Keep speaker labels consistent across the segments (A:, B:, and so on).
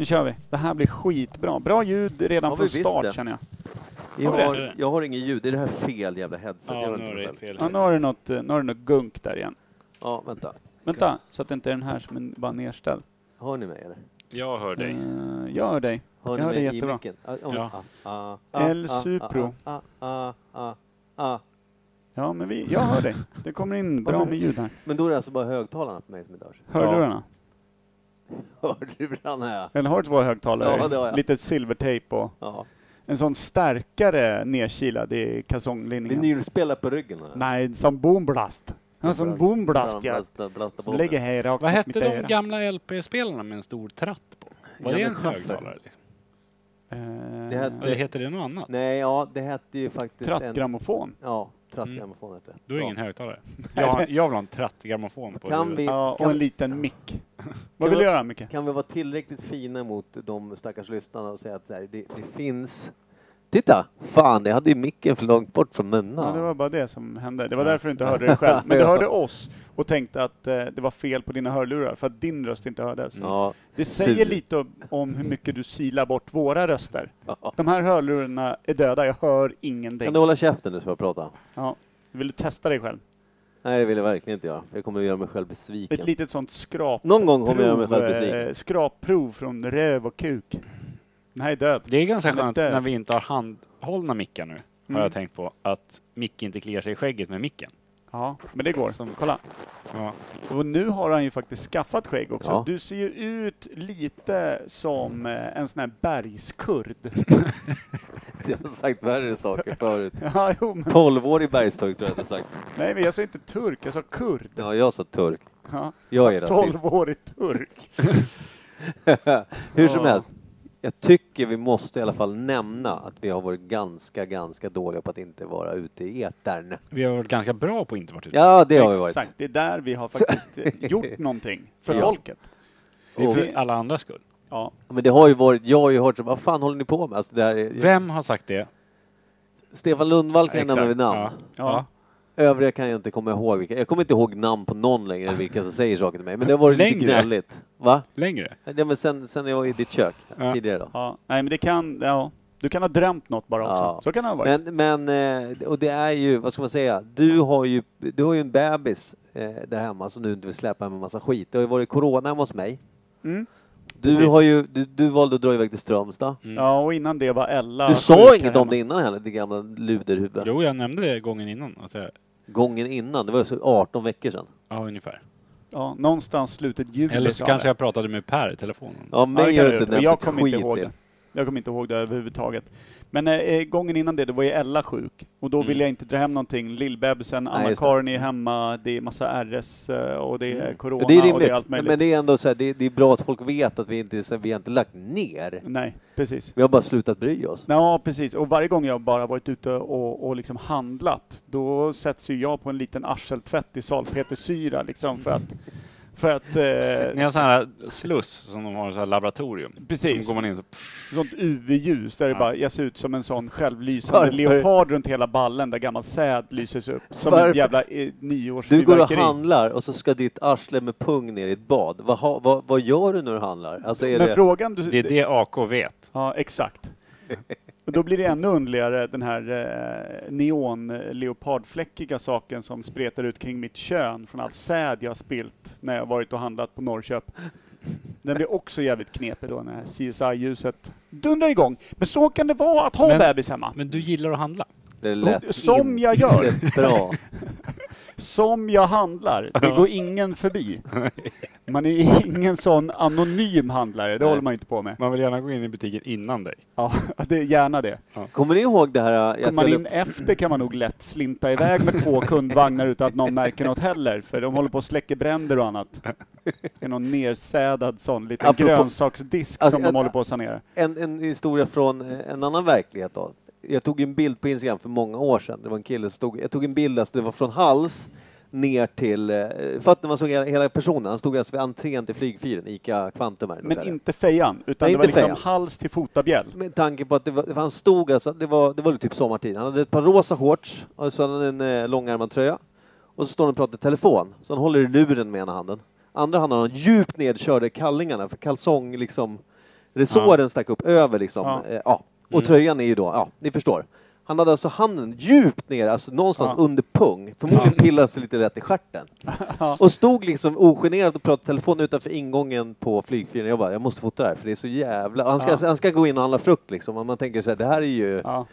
A: Nu kör vi. Det här blir skitbra. Bra ljud redan
B: Ja,
A: från
B: vi visste.
A: start känner jag.
B: Jag
A: Har vi det?
B: har, jag har ingen ljud. Är det här fel jävla headset? jag
C: Ja,
B: har
C: nu
B: inte
C: är
B: mig
C: det
B: själv.
C: fel.
A: Ja, nu har du något, eh, nu har du något gunk där igen.
B: Ja, vänta.
A: Vänta, så att det inte är den här som är bara nerställd.
B: Hör ni mig eller?
C: Jag hör dig.
A: Eh, jag hör dig.
B: Hör ni
A: Jag hör
B: mig
A: dig jättebra.
B: i micken? Ah, om-
C: Ja.
B: ah, ah, ah,
A: El
B: ah,
A: Supro.
B: ah, ah, ah, ah.
A: Ja, men vi, jag hör dig. Det kommer in bra med ljud här.
B: Men då är det alltså bara högtalarna för mig som inte hörs.
A: Hörlurarna.
B: Hörlurarna ja.
A: Eller har du två högtalare?
B: Ja, det har jag.
A: Lite silvertejp och
B: ja.
A: en sån starkare nedkilad i kalsonglinningen.
B: Vinylspelare på ryggen. ja.
A: Nej, som boomblast. Ja, som boomblast ja.
B: Blasta, blasta
A: Så
B: på
A: lägger
B: mig.
A: här rakt
C: Vad
A: mot
C: hette
A: mitt
C: de
A: öra.
C: gamla LP-spelarna med en stor tratt på? Var det en
B: Gamla Schaffer.
C: högtalare? Liksom?
A: Eh,
B: Det hette-
C: Eller heter det något annat?
B: Nej, ja, det hette ju faktiskt en...
A: Trattgrammofon.
B: Ja, trattgrammofon hette det.
C: Då är det
B: Ja.
C: ingen högtalare. Jag, jag vill ha en trattgrammofon Mm. på
B: Kan
C: huvudet.
B: vi,
A: Ja,
B: kan,
A: och en
B: vi-
A: liten mick. Vad vill
B: vi-
A: du göra, Micke?
B: kan vi vara tillräckligt fina mot de stackars lyssnarna och säga att så här, det, det finns... Titta! Fan, jag hade ju micken för långt bort från munnen.
A: Ja, det var bara det som hände. Det var därför du inte hörde dig själv. Men du
B: Ja.
A: hörde oss och tänkte att eh, det var fel på dina hörlurar för att din röst inte hördes.
B: Ja,
A: Det säger lite om- om hur mycket du silar bort våra röster.
B: Ja.
A: De här hörlurarna är döda, jag hör ingenting.
B: Kan du hålla käften nu så jag pratar?
A: Ja. Vill du testa dig själv?
B: Nej, det vill jag verkligen inte göra. Jag kommer att göra mig själv
A: Ett
B: besviken.
A: litet sånt skrap
B: Någon gång kommer jag göra mig
A: prov,
B: själv besviken.
A: eh, skrapprov från röv och kuk. Den här är död.
C: Det är ganska
A: Lite-
C: skönt när vi inte har handhållna mickar nu.
A: Mm.
C: Har jag tänkt på. Att Micke inte kliar sig i skägget med micken.
A: Ja, men det går.
C: Som-
A: Kolla.
C: Ja.
A: Och nu har han ju faktiskt skaffat skägg också.
B: Ja.
A: Du ser ju ut lite som eh, en sån här bergskurd.
B: Jag har sagt värre saker förut.
A: ja, jo, men,
B: 12 år i Bergstorg tror jag att jag sagt.
A: nej, men jag sa inte turk, jag sa kurd.
B: Ja, jag sa turk.
A: Ja,
B: Jag är rasist.
A: 12-årig turk.
B: Hur som
A: Ja.
B: helst, jag tycker vi måste i alla fall nämna att vi har varit ganska, ganska dåliga på att inte vara ute i etern.
C: Vi har varit ganska bra på att inte varit ute.
B: Ja, det har vi varit.
A: Exakt, det är där vi har faktiskt eh, gjort någonting för
B: Ja.
A: folket.
C: Det är
A: Och-
C: för alla andras skull.
A: Ja,
B: Men det har ju varit, jag har ju hört så vad fan håller ni på med? Alltså det här är,
C: Vem har sagt det?
B: Stefan Lundvall kan jag nämna vid namn.
C: Ja.
A: ja.
B: Övriga kan jag inte komma ihåg vilka. Jag kommer inte ihåg namn på någon längre, vilka som säger saker till mig. Men det har varit lite
C: Längre?
B: gnälligt. Va?
C: Längre?
B: Ja, men sen, sen jag var i ditt kök
C: Ja.
B: tidigare då.
A: ja. Nej, men det kan, ja. Du kan ha drömt något bara också.
B: Ja.
A: Så kan det ha varit.
B: Men, men, eh, och det är ju, vad ska man säga, du har ju, du har ju en bebis eh, där hemma som du inte vill släppa med massa skit. Det har ju varit corona hemma hos mig.
A: Mm.
B: Du,
A: Precis. Mm.
B: har ju, du, du valde att dra iväg till Strömstad.
C: Mm.
A: Ja, och innan det var Ella
B: Du
A: sjuk
B: sa
A: här
B: inget om
A: hemma.
B: det innan heller, det gamla luderhuvud.
C: Jo, jag nämnde det gången innan. Att jag,
B: Gången innan, det var ju så 18 veckor sedan.
C: ja, ungefär.
A: Ja, någonstans slutet juli
C: Eller
A: sa
C: så kanske
A: det.
C: jag pratade med Per i telefonen.
B: Ja,
A: Ja, det
B: mig
A: kan jag
B: har du
A: ha
B: inte
A: gjort. Och
B: nämnt
A: jag
B: ett
A: kommer inte
B: skit
A: ihåg
B: i.
A: det. Jag kommer inte ihåg det överhuvudtaget. Men eh, gången innan det, då var ju Ella sjuk. Och då
C: Mm.
A: ville jag inte dra hem någonting. Lillbebisen,
B: Nej, just det.
A: Anna-Karin är hemma, det är massa RS eh, och det är corona
B: Mm. Men Det är
A: och det är
B: rimligt.
A: allt möjligt.
B: men det är ändå så här, det, det är bra att folk vet att vi inte, så här, vi har inte lagt ner.
A: Nej, precis.
B: Vi har bara slutat bry oss.
A: Ja, precis. Och varje gång jag bara varit ute och, och liksom handlat, då sätts ju jag på en liten arseltvätt i salpetersyra liksom för att... För att
C: Ni
A: eh,
C: har sån här sluss som de har i så här laboratorium.
A: Precis.
C: Som går man in så...
A: sånt UV-ljus där det
C: Ja.
A: bara, jag ser ut som en sån självlysande
B: Varför?
A: leopard runt hela ballen där gammal säd lyses upp. Som
B: Varför?
A: ett jävla eh,
B: Du går och
A: nyårsfyrverkeri.
B: handlar och så ska ditt arsle med pung ner i ett bad. Vad, ha- vad, vad gör du när du handlar? Alltså är
A: Men
B: det...
A: frågan du...
C: Det är det AK vet.
A: Ja, exakt. Och då blir det ännu underligare den här eh, neonleopardfläckiga saken som spretar ut kring mitt kön från all säd jag har spilt när jag varit och handlat på Norrköp. Den blir också jävligt knepig då när CSI-ljuset dundrar igång. Men så kan det vara att ha
C: Men-
A: bebis hemma.
C: Men du gillar att handla.
B: det lät
A: som jag gör.
B: inte Bra.
A: Som jag handlar. Det går ingen förbi. Man är ingen sån anonym handlare, det
B: Nej.
A: håller man ju inte på med.
C: Man vill gärna gå in i butiken innan dig.
A: Ja, det är gärna det.
B: Kommer ni ihåg det här? eh,
A: Kommer
B: att
A: man
B: jag-
A: in efter kan man nog lätt slinta iväg med två kundvagnar utan att någon märker något heller, för de håller på och släcker bränder och annat. Det är någon nersädad sån liten
B: Apropå-
A: grönsaksdisk
B: Alltså,
A: som de
B: jag-
A: håller på att sanera.
B: en, en historia från eh, en annan verklighet då. Jag tog ju en bild på Instagram för många år sedan. Det var en kille som stod, jag tog en bild, alltså det var från hals ner till, eh, fattar man såg hela, hela personen, han stod alltså vid entrén till flygfyren, ICA Kvantum här.
A: Men inte fejan, utan
B: Nej,
A: det var
B: inte
A: liksom
B: fejan.
A: hals till fotabjäll.
B: Med tanke på att det var, för han stod alltså, det var, det var typ sommartid. Han hade ett par rosa shorts och så hade han en eh, långärmad tröja. Och så står han och pratar i telefon. Så han håller i luren med ena handen. Andra handen har han djupt nedkörd i kallingarna för kalsong liksom Resåren stack upp över liksom.
A: Ja. Mm.
B: Eh, ja. Och tröjan är ju då, ja, ni förstår. Han hade alltså handen djupt ner, alltså någonstans
A: Ja.
B: under pung. Förmodligen pillade sig lite lätt i stjärten. Och stod liksom ogenerat och pratade i telefon utanför ingången på flygfyren. Jag bara, jag måste fota det här för det är så jävla... Han ska,
A: Ja.
B: han ska gå in och handla frukt liksom. Och man tänker så här, det här är ju...
A: Ja.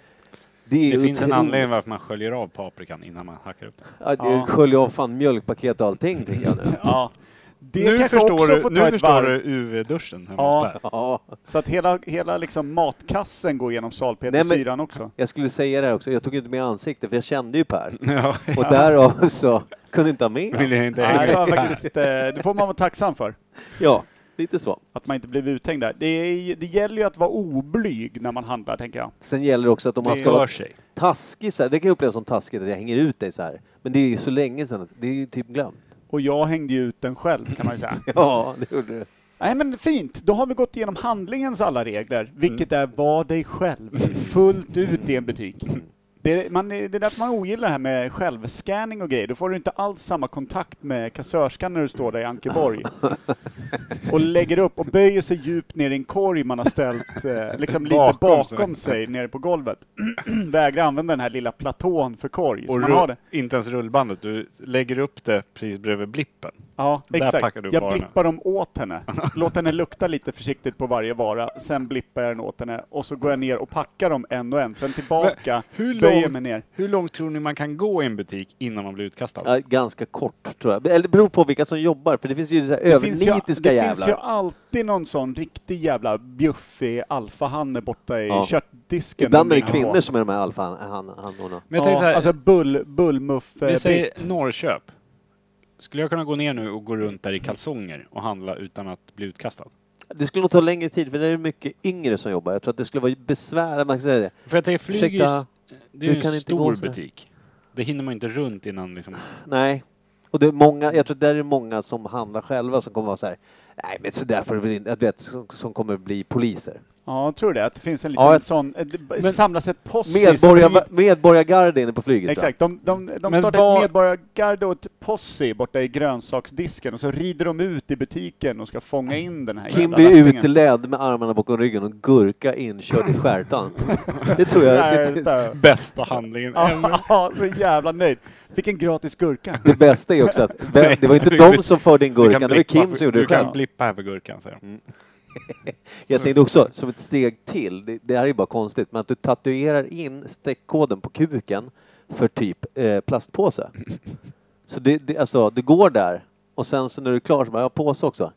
B: är
C: Det
B: ju
C: finns en
B: otroligt.
C: anledning varför man sköljer av paprikan innan man hackar upp den.
B: Ja,
A: Ja.
B: det sköljer av fan mjölkpaket och allting tänker jag nu.
A: Ja. Det
C: nu
A: kanske
C: förstår
A: också
C: du,
A: får
C: nu
A: ta ett
C: förstår
A: varv.
C: du UV-duschen hemma
A: Ja.
C: hos Per.
B: Ja.
A: Så att hela, hela liksom matkassen går genom
B: Nej, men-
A: salpetersyran också.
B: Jag skulle säga det här också, jag tog inte med ansiktet för jag kände ju Per.
C: Ja,
B: Och därav så kunde inte ha med.
C: vill jag inte
A: Nej, det,
C: hänga
A: var
C: med.
A: faktiskt, eh, det får man vara tacksam för.
B: Ja, lite så.
A: Att man inte blev uthängd där. Det, är, det gäller ju att vara oblyg när man handlar, tänker jag.
B: Sen gäller det också att om man
C: Det
B: ska
C: för
B: vara
C: sig.
B: taskig så här, det kan jag uppleva som taskigt att jag hänger ut dig så här. Men det är ju så länge sedan, att det är ju typ glömt.
A: Och jag hängde ju ut den själv, kan man ju säga.
B: Ja, det gjorde du.
A: Nej men fint, då har vi gått igenom handlingens alla regler, vilket är var dig själv, fullt ut i en butik. Det, man, det är därför man ogillar det här med självscanning och grejer. Då får du inte alls samma kontakt med kassörskan när du står där i Ankeborg och lägger upp och böjer sig djupt ner i en korg man har ställt eh, liksom lite bakom,
C: Bakom sig.
A: sig nere på golvet. Vägrar använda den här lilla platån för korg. Och
C: Och
A: man har
C: rull,
A: det.
C: inte ens rullbandet, du lägger upp det precis bredvid blippen.
A: Ja,
C: Där
A: exakt.
C: packar du upp
A: Jag
C: varorna.
A: blippar dem åt henne. Låt henne lukta lite försiktigt på varje vara, sen blippar jag den åt henne och så går jag ner och packar dem en och en. Sen tillbaka,
C: Hur
A: böjer mig
C: långt,
A: ner.
C: hur långt tror ni man kan gå i en butik innan man blir utkastad?
B: Ja, ganska kort tror jag. Eller det beror på vilka som jobbar, för det finns ju så här
A: Det, finns ju,
B: övernitiska
A: det finns ju
B: jävlar. Typ
A: alltid någon sån riktig jävla bjuffig alfahanne borta i
B: Ja.
A: köttdisken.
B: Ibland
A: de
B: är det
A: ligger på.
B: kvinnor som är de här alfahannorna.
C: Men jag tänkte så här,
A: ja, alltså bull, bullmuff
C: vi
A: eh,
C: säger
A: Britt.
C: Norrköp. Skulle jag kunna gå ner nu och gå runt där i kalsonger och handla utan att bli utkastad?
B: Det skulle nog ta längre tid, för det är mycket yngre som jobbar. Jag tror att det skulle vara besvär, man kan säga det.
C: För att det flyger ju,
B: Ursäkta,
C: s- det är
B: du
C: ju
B: kan
C: en
B: inte
C: stor
B: gå så här.
C: butik. Det hinner man ju inte runt innan liksom.
B: Nej. Och det är många, jag tror där är många som handlar själva som kommer vara så här. Nej men så där får du väl inte, att vet, som, som kommer bli poliser.
A: Ja, tror du det? Att det finns en liten
B: Ja, jag-
A: sån... eh, Det
B: Men-
A: samlas ett posse
B: Medborgar,
A: som-
B: medborgargarde inne på flyget. tror jag.
A: Exakt, de, de, de
C: Men
A: startar ett
C: vad-
A: medborgargarde och ett posse borta i grönsaksdisken och så rider de ut i butiken och ska fånga in den här
B: Kim
A: jävla
B: blir
A: lastingen.
B: utledd med armarna bakom ryggen och gurka inkörd i stjärtan. Det tror jag det,
A: Där, där.
C: Bästa handlingen
A: Ah.
C: ever.
A: Ja, så jävla nöjd. Fick en gratis gurka.
B: det bästa är också att vem, det var inte
C: Nej, du-
B: de som förde in
C: Du kan
B: gurkan, det var
C: blippa
B: Kim
C: för-
B: som gjorde det
C: Du
B: själv. Mm.
C: kan blippa här för gurkan, säger de.
B: Jag tänkte också, som ett steg till, det, det här är ju bara konstigt, men att du tatuerar in streckkoden på kuken för typ eh, plastpåse. Så det, det, alltså, du går där och sen så när du är klar så bara, jag har påse också.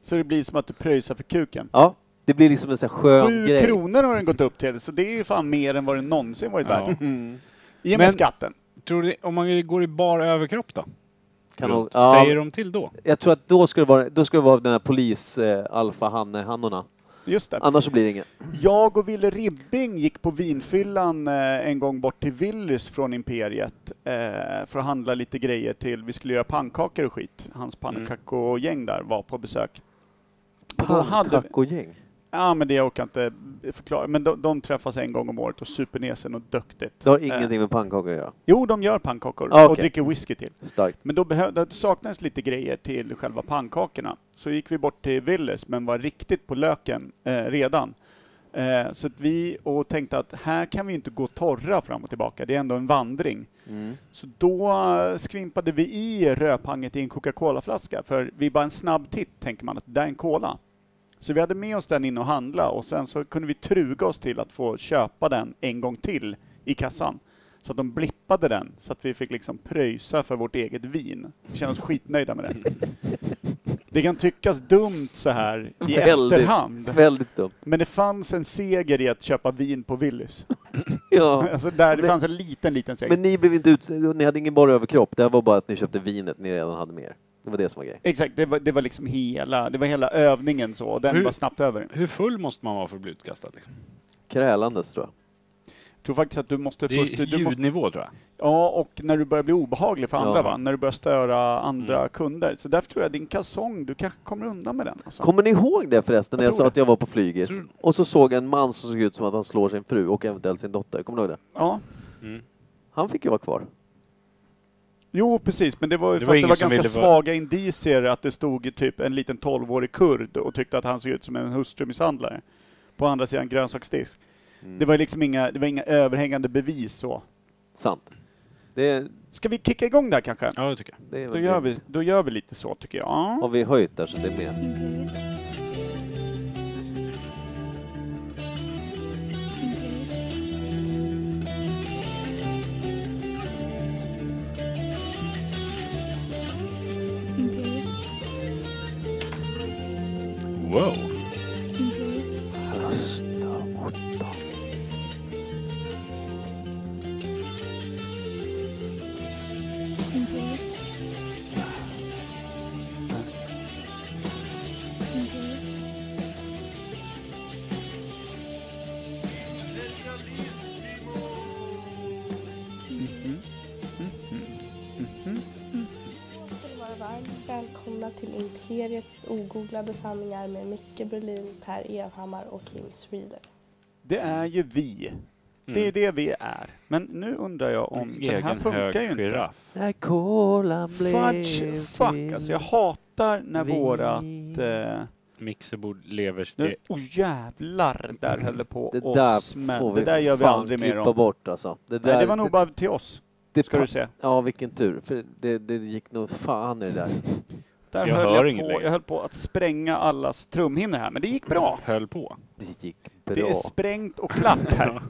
A: Så det blir som att du pröjsar för kuken.
B: Ja, det blir liksom en sån här skön
A: Sju
B: grej.
A: kronor har den gått upp till, så det är ju fan mer än vad den någonsin varit
C: Ja.
A: värd. I och med
C: Men-
A: skatten.
C: Tror du, om man går i bar överkropp då?
B: Kan
C: Runt.
B: nog- ja,
C: Säger de till då?
B: Jag tror att då ska det vara, då ska det vara den här polis eh, alfa hanne hannorna
A: Just det.
B: Annars så blir det inget.
A: Jag och Ville Ribbing gick på vinfyllan eh, en gång bort till Willys från Imperiet eh, för att handla lite grejer till, vi skulle göra pannkakor och skit. Hans pannkakogäng där var på besök. Och då hade vi-
B: Pannkakogäng.
A: Ja men det jag orkar inte förklara, men de, de träffas en gång om året och super ner sig något duktigt.
B: Det har
A: Eh,
B: ingenting med pannkakor att göra.
A: jo, de gör pannkakor
B: Ah,
A: och
B: okej.
A: dricker whisky till.
B: Starkt.
A: Men då, behö- då saknades lite grejer till själva pannkakorna. Så gick vi bort till Willys men var riktigt på löken eh, redan. Eh, så att vi och tänkte att här kan vi inte gå torra fram och tillbaka, det är ändå en vandring.
B: Mm.
A: Så då eh, skvimpade vi i rödpanget i en Coca-Cola-flaska, för vid bara en snabb titt tänker man att det där är en cola. Så vi hade med oss den in och handla och sen så kunde vi truga oss till att få köpa den en gång till i kassan. Så att de blippade den, så att vi fick liksom pröjsa för vårt eget vin. Vi kände oss skitnöjda med det. Det kan tyckas dumt så här i
B: Väldigt.
A: efterhand,
B: Väldigt dumt.
A: men det fanns en seger i att köpa vin på Willys.
B: Ja.
A: Alltså där det
B: Men-
A: fanns en liten, liten seger.
B: Men ni blev inte ut... ni hade ingen bara överkropp, det här var bara att ni köpte vinet ni redan hade med er. Det var det som var grejen.
A: Exakt, det var, det var liksom hela, det var hela övningen så, och den
C: Hur-
A: var snabbt över.
C: Hur full måste man vara för att bli utkastad? Liksom?
B: Krälandes tror jag.
A: Jag tror faktiskt att du måste
C: Det är
A: först, du, du måste,
C: ljudnivå tror jag.
A: ja och när du börjar bli obehaglig för
B: Ja.
A: andra va, när du börjar störa andra
C: Mm.
A: kunder. Så därför tror jag din kalsong, du kanske kommer undan med den alltså.
B: Kommer ni ihåg det förresten när
A: Jag
B: jag
A: tror
B: sa
A: det.
B: att jag var på flygis
C: Mm.
B: och så såg jag en man som såg ut som att han slår sin
A: Mm.
B: fru och eventuellt sin dotter. Kommer ni ihåg det?
A: Ja.
B: Han fick ju vara kvar.
A: Jo, precis, men det var ju för
C: Det var
A: att det
C: ingen
A: var
C: som
A: ganska
C: ville vara-
A: svaga indicier att det stod typ en liten 12-årig kurd och tyckte att han såg ut som en hustrumisshandlare på andra sidan grönsaksdisk.
C: Mm.
A: Det var ju liksom inga, det var inga överhängande bevis så.
B: Sant. Det, är-
A: Ska vi kicka igång där kanske?
C: Ja, det tycker jag.
B: det är
A: Då
B: väl
A: gör
B: det.
A: vi, då gör vi lite så tycker jag.
B: Har vi höjt där så det blir...
D: Imperial. Imperial.
C: Wow!
D: Imperial.
B: Rösta åtta.
D: Imperial. Imperial.
A: Mhm.
E: ska ni vara varmt välkomna till Imperiet ogooglade sanningar med Micke Berlin, Per Evhammar och Kim Schreeder.
A: Det är ju vi. Det är det vi är. Men nu undrar jag om den här
C: Mm. Egen hög
A: funkar ju inte.
C: giraff.
B: När kolan
A: Fudge fuck alltså. Jag hatar när
B: Vi-
A: vårat... Eh,
C: Mixerbord, leversteg.
A: nu, oh jävlar,
C: Mm.
A: där höll det på
B: Det
A: och
B: där
A: smäll.
B: får vi
A: Det där gör vi
B: fan
A: aldrig mer
B: klippa
A: om.
B: bort alltså. Det, där,
A: Nej, det var nog
B: det-
A: bara till oss,
B: det
A: ska
B: pa-
A: du se.
B: Ja, vilken tur. För det, det gick nog fan i det där.
A: Där
C: Jag
A: höll
C: hör
A: jag
C: inget
A: på.
C: längre.
A: Jag höll på att spränga allas trumhinnor här, men det gick bra.
C: Höll på.
B: Det gick
A: Det är
B: bra.
A: sprängt och klart här.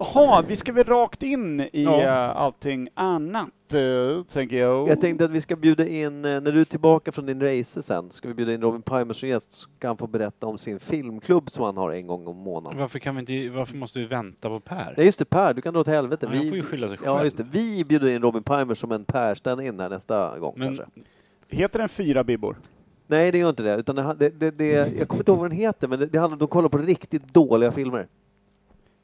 A: Jaha, vi ska väl rakt in i
C: Ja.
A: eh, allting annat, eh, tänker jag.
B: Jag tänkte att vi ska bjuda in, eh, när du är tillbaka från din race sen, ska vi bjuda in Robin Palmer som gäst så kan han få berätta om sin filmklubb som han har en gång om månaden.
C: Varför, kan vi inte, varför måste vi vänta på Per?
B: Nej just det, Per, du kan dra åt helvete.
C: Ja, han får ju skylla sig
B: Ja,
C: själv.
B: just det. Vi bjuder in Robin Palmer som en Per in här nästa gång
C: Men
B: kanske.
A: Heter den Fyra Bibbor?
B: Nej, det gör inte det. Utan det, det, det, det jag kommer inte ihåg vad den heter, men det, det handlar om att de kollar på riktigt dåliga filmer.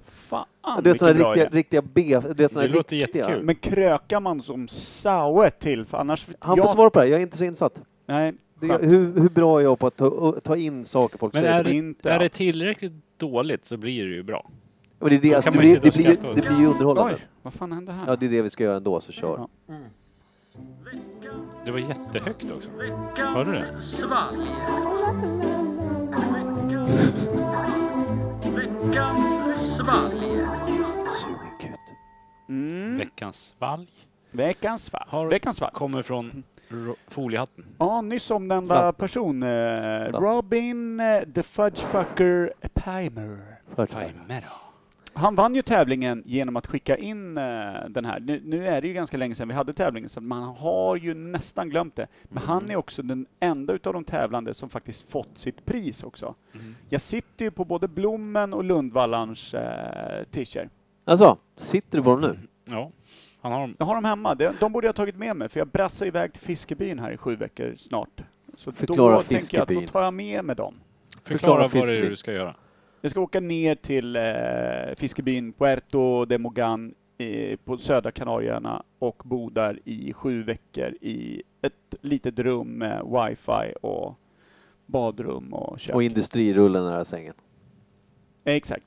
A: Fan,
B: det är
A: vilken
B: såna här
A: bra
B: riktiga,
A: idé.
B: riktiga B... Det, är såna här
C: Det låter
B: riktiga.
C: jättekul.
A: Men krökar man som saue till? För annars...
B: Han
A: jag,
B: får svara på det här. Jag är inte så insatt.
A: Nej,
B: Det,
A: skönt.
B: hur, hur bra är jag på att ta, ta in saker folk
C: Men
B: säger?
C: är
A: det
C: det,
A: inte
C: är det
A: alls.
C: tillräckligt dåligt så blir det ju bra.
B: Men det, är det,
C: Då
B: alltså,
C: kan
B: det,
C: man ju
B: blir, det,
C: sitta och
B: blir,
C: skratta åt
B: det
C: det.
B: blir ju underhållande.
A: Oj, vad fan hände här?
B: Ja, det är det vi ska göra ändå, så kör.
A: Ja.
C: Det var jättehögt också. Hörde du det?
B: Sugigt.
A: Mm.
C: Veckans svalg.
A: Veckans svalg.
C: Har-
A: Veckans svalg.
C: Kommer från ro- foliehatten.
A: Ja, nyss omnämnda person. Eh, Robin eh, the Fudgefucker Pimer.
C: Timera.
A: Han vann ju tävlingen genom att skicka in eh, den här. Nu, nu är det ju ganska länge sedan vi hade tävlingen, så man har ju nästan glömt det. Men han är också den enda utav de tävlande som faktiskt fått sitt pris också.
C: Mm.
A: Jag sitter ju på både Blommen och Lundvallans eh, t-shirt.
B: Alltså, sitter du på dem nu?
C: Ja, han har dem.
A: Jag har dem hemma. De, de borde jag ha tagit med mig, för jag brassar iväg till Fiskebyn här i sju veckor snart. Så
B: Förklara
A: då tänker jag att
B: Fiskebyn.
A: då tar jag med mig dem.
C: Förklara vad det
B: fiskbil.
C: är du ska göra.
A: Jag ska åka ner till eh, fiskebyn Puerto de Mogan eh, på södra Kanarieöarna och bo där i sju veckor i ett litet rum med wifi och badrum och kök.
B: Och industrirullen nära sängen.
A: Eh, Exakt.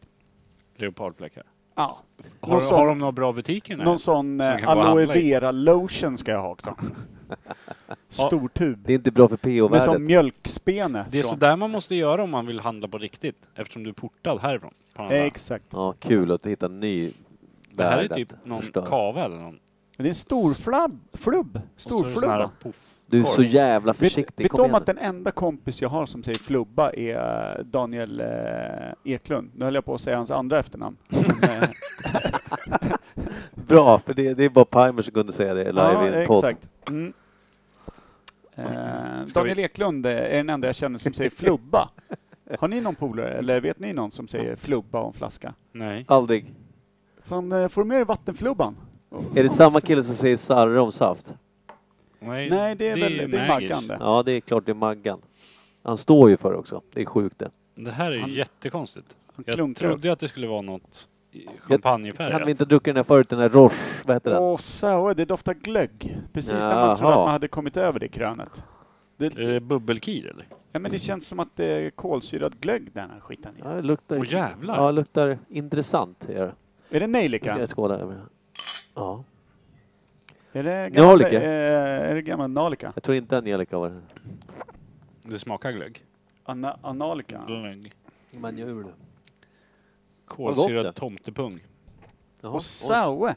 C: Leopardfläckar.
A: Ja.
C: Har,
A: Någon
C: har
A: sån-
C: de några bra butiker? i
A: Någon
C: närheten?
A: sån
C: Som
A: eh,
C: kan gå och
A: aloe
C: handla i.
A: vera lotion ska jag ha också. Stor tub.
B: Det är inte bra för
A: Med som
B: PO-värdet.
A: mjölkspene.
C: Det är
A: från.
C: sådär man måste göra om man vill handla på riktigt. Eftersom du är portad härifrån. På andra.
A: Eh, Exakt.
B: Ja, kul att hitta en ny
C: det här är
B: värld
C: typ
B: att
C: någon
B: förstöra.
C: kava eller någon.
A: Men det är en stor flabb, flubb.
C: Och så är
A: Stor
C: det sån här
A: flubba.
C: puff.
B: Du är så
C: korv.
B: jävla
A: Vet,
B: försiktig.
A: vet
B: Kom
A: du om
B: igen
A: att
B: nu.
A: den enda kompis jag har som säger flubba är eh, Daniel eh, Eklund? Nu höll jag på att säga hans andra efternamn. Men, eh,
B: Bra, för det, det är bara Pimer som kunde säga det live
A: ja,
B: i en podd.
A: exakt. Mm. Eh,
C: Ska vi-
A: Daniel Eklund eh, är den enda jag känner som säger flubba. Har ni någon polare, eller vet ni någon som säger flubba och en flaska?
C: Nej.
B: Aldrig.
A: Fan, eh, får du med dig vattenflubban?
B: Är det samma kille som säger sarre om saft?
C: Nej,
A: Nej, det är väl det är
C: Maggish.
A: Maggan det.
B: Ja, det är klart det är Maggan. Han står ju för det också. Det är sjukt det.
C: Det här är ju
A: Han-
C: jättekonstigt.
A: Han
C: Jag
A: klunkar
C: trodde ju att det skulle vara något i- champagnefärgat.
B: Kan vi inte dricka den här förut, den här Roche, vad heter den?
A: Åh, så, det doftar glögg. Precis när
B: Jaha.
A: man trodde att man hade kommit över det krönet. Det,
C: Är det bubbelkir eller?
A: ja, men det känns som att det är kolsyrad glögg den här skiten.
B: Ja, det luktar...
C: Åh jävlar!
B: Ja, det luktar intressant. Gör det.
A: Är det
B: Jag
A: nejlika?
B: ska skåla över det. Ja.
A: Är det gammal,
B: Nalika.
A: Eh, är det gammal Nalika?
B: Jag tror inte Angelica var det.
C: Det smakar glögg.
A: Ana, analika?
C: Glögg.
B: Man gör det. Vad gott
C: Kolsyrad
B: det.
C: tomtepung.
B: Jaha.
A: Och Saue.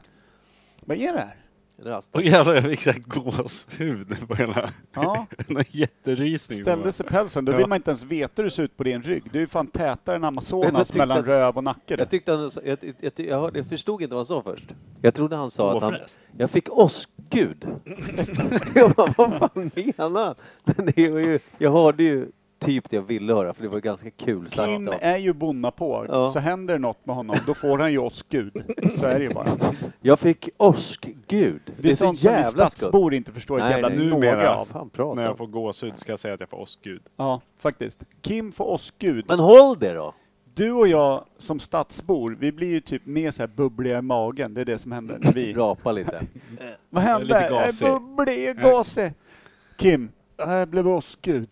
A: Vad är det här?
B: Rast.
C: Och jävlar, jag fick såhär gåshud på hela...
A: Ja,
C: En jätterysning.
A: ställde sig pälsen. Då
C: Ja.
A: vill man inte ens veta hur det ser ut på din rygg. Du är ju fan tätare än
B: Men jag
A: Amazonas
B: tyckte
A: mellan
B: att-
A: röv och nacke. du.
B: Jag tyckte han, sa- jag, jag, jag, jag, hörde- jag förstod inte vad han sa först. Jag trodde han sa att han,
C: Ståfräs.
B: jag fick åskgud. jag bara, vad fan menar han? Men det var ju, jag hörde ju typ det jag ville höra för det var ganska kul sagt.
A: Kim är ju bonnapår,
B: Ja.
A: så händer det något med honom då får han ju oss Gud. Så är det ju bara. Det
B: Jag fick åskgud. Det,
A: är,
B: är så
A: sånt som vi
B: jävla skumt.
A: stadsbor inte förstår ett
B: Nej,
A: jävla
B: nej.
A: någa
C: Numera.
A: av.
B: Fan pratar
C: När
B: han?
C: jag får gåshud ska jag säga att jag får åskgud.
A: Ja, faktiskt. Kim får oss Gud.
B: Men håll det då!
A: Du och jag som stadsbor, vi blir ju typ mer så här bubbliga i magen. Det är det som händer när vi...
B: Rapa lite.
A: Vad hände?
C: Lite
A: Jag
C: gasig.
A: är bubblig, jag är gasig. Kim, jag blev åskgud.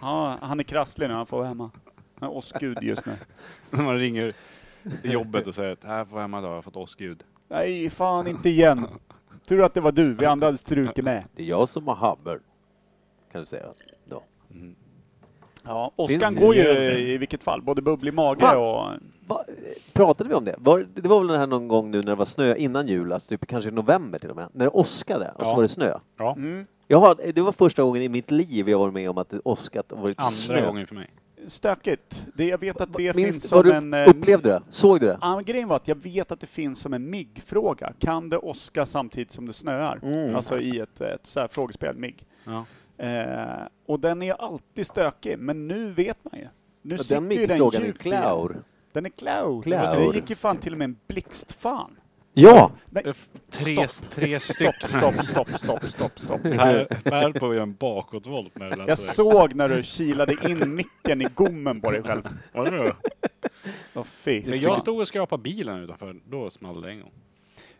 A: Ja, han är krasslig nu, han får vara hemma. Han är åskgud just nu.
C: När man ringer jobbet och säger att här får jag hemma idag, jag har fått åskgud.
A: Nej, fan inte igen. Tur att det var du, vi andra hade strukit med.
B: Det är jag som har hammer. Kan du säga. Då.
A: Ja,
B: Finns
A: åskan
B: ju
A: går ju
B: egentligen.
A: i vilket fall, både bubblig mage
B: Fan.
A: och...
B: Va, pratade vi om det? Var, det var väl den här någon gång nu när det var snö innan jul, alltså typ kanske i november till och med, när det åskade och så
C: Ja.
B: var det snö.
C: Ja,
A: Mm.
B: Jag har, det var första gången i mitt liv jag varit med om att det åskat och varit
C: andra
B: snö.
C: gången för mig.
A: Stökigt. Det, jag vet att det finns
B: Minns, var
A: som
B: du,
A: en... eh,
B: upplevde du det? Såg du det?
A: Ja, men grejen var att jag vet att det finns som en MIG-fråga. Kan det åska samtidigt som det snöar?
B: Mm.
A: Alltså i ett, ett så här frågespel, MIG.
C: Ja.
A: Eh, och den är ju alltid stökig, men nu vet man ju. Nu
B: Ja,
A: sitter
B: Den
A: ju den
B: mikrofrågan är
A: djupt i den.
B: clown.
A: Den är cloud.
B: Cloud.
A: Det gick ju fan till och med en blixtfan.
B: Ja!
A: Nej,
C: Tre, tre
A: stopp,
C: stycken.
A: stopp, stopp, stopp, stopp, stopp.
C: Per, per på att göra en bakåtvolt när det lät
B: Alltså,
A: Jag
C: så
A: såg när du kilade in micken i gommen på dig själv.
C: där.
A: Åh fy.
C: Men jag stod och skrapade bilen utanför, då small det en gång.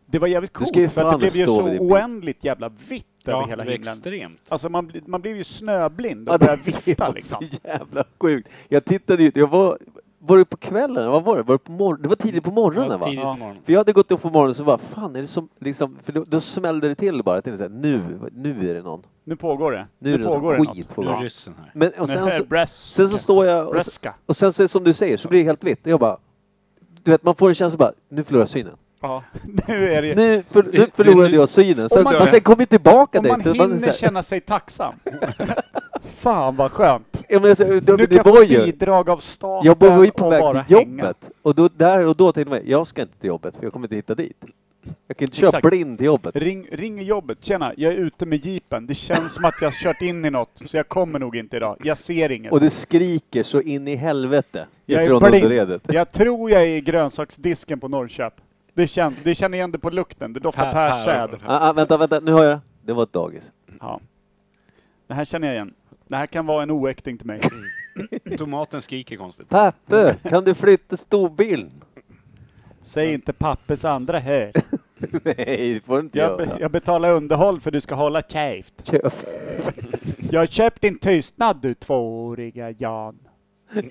A: Det var jävligt
B: Du ska
A: coolt,
B: ju
A: för att det
B: fan
A: blev ju
B: stå
A: så
B: vid din bil.
A: oändligt jävla vitt
C: Ja,
A: över hela
C: det var
A: himlen.
C: extremt.
A: Alltså man, bli- man blev ju snöblind
B: Ja,
A: och började vifta
B: var
A: liksom.
B: så jävla sjukt. Jag tittade ju, jag var, var det på kvällen? Vad var det? Var det, på mor- det var tidigt på morgonen
C: Ja,
B: va?
C: tidigt
A: Ja.
C: på morgonen.
B: För jag hade gått upp på morgonen och så bara, fan är det som, liksom, för då, då smällde det till bara. Jag tänkte såhär, nu, nu är det någon.
A: Nu pågår det.
B: Nu är det
A: pågår det
B: någon skit
A: något.
B: på
C: Nu är
B: gång.
C: ryssen här.
B: Men och sen, så,
A: Breast.
B: sen så står jag och,
A: Breska.
B: och sen så, som du säger, så blir det helt vitt. Och jag bara, du vet man får en känsla bara, nu förlorar jag synen.
A: Ja, nu är det
B: Nu, för, nu förlorade jag synen. Sen,
A: man-
B: fast den kom ju tillbaka
A: Om man
B: dit. Så man, så
A: hinner
B: här,
A: känna sig tacksam. Fan vad skönt.
B: ja, men, så, det,
A: Nu
B: det
A: kan jag
B: var
A: få
B: ju,
A: bidrag av staten
B: jag var ju på
A: och bara
B: väg till jobbet.
A: hänga.
B: Och då, där och då tänkte jag, jag ska inte till jobbet för jag kommer inte hitta dit. Jag kan inte köra
A: Exakt.
B: blind till jobbet.
A: Ring, ring i jobbet. Tjena, jag är ute med jeepen. Det känns som att jag har kört in i något, så jag kommer nog inte idag. Jag ser inget.
B: Och det skriker så in i helvete
A: jag
B: ifrån underredet.
A: Jag tror jag är i grönsaksdisken på Norrköp. Det känner, det känner igen det på lukten. Det doftar
C: Per-
A: persäd.
C: Per.
B: Ah, ah, vänta, vänta, nu har jag det. Det var ett dagis.
A: Ja. Det här känner jag igen. Det här kan vara en oäkting till mig.
C: Tomaten skriker konstigt.
B: Pappa, kan du flytta storbilden?
A: Säg inte pappes andra här.
B: Nej, det får du inte
A: Jag, be,
B: göra.
A: jag betalar underhåll för du ska hålla käft.
B: Köp.
A: Jag har köpt din tystnad du tvååriga Jan.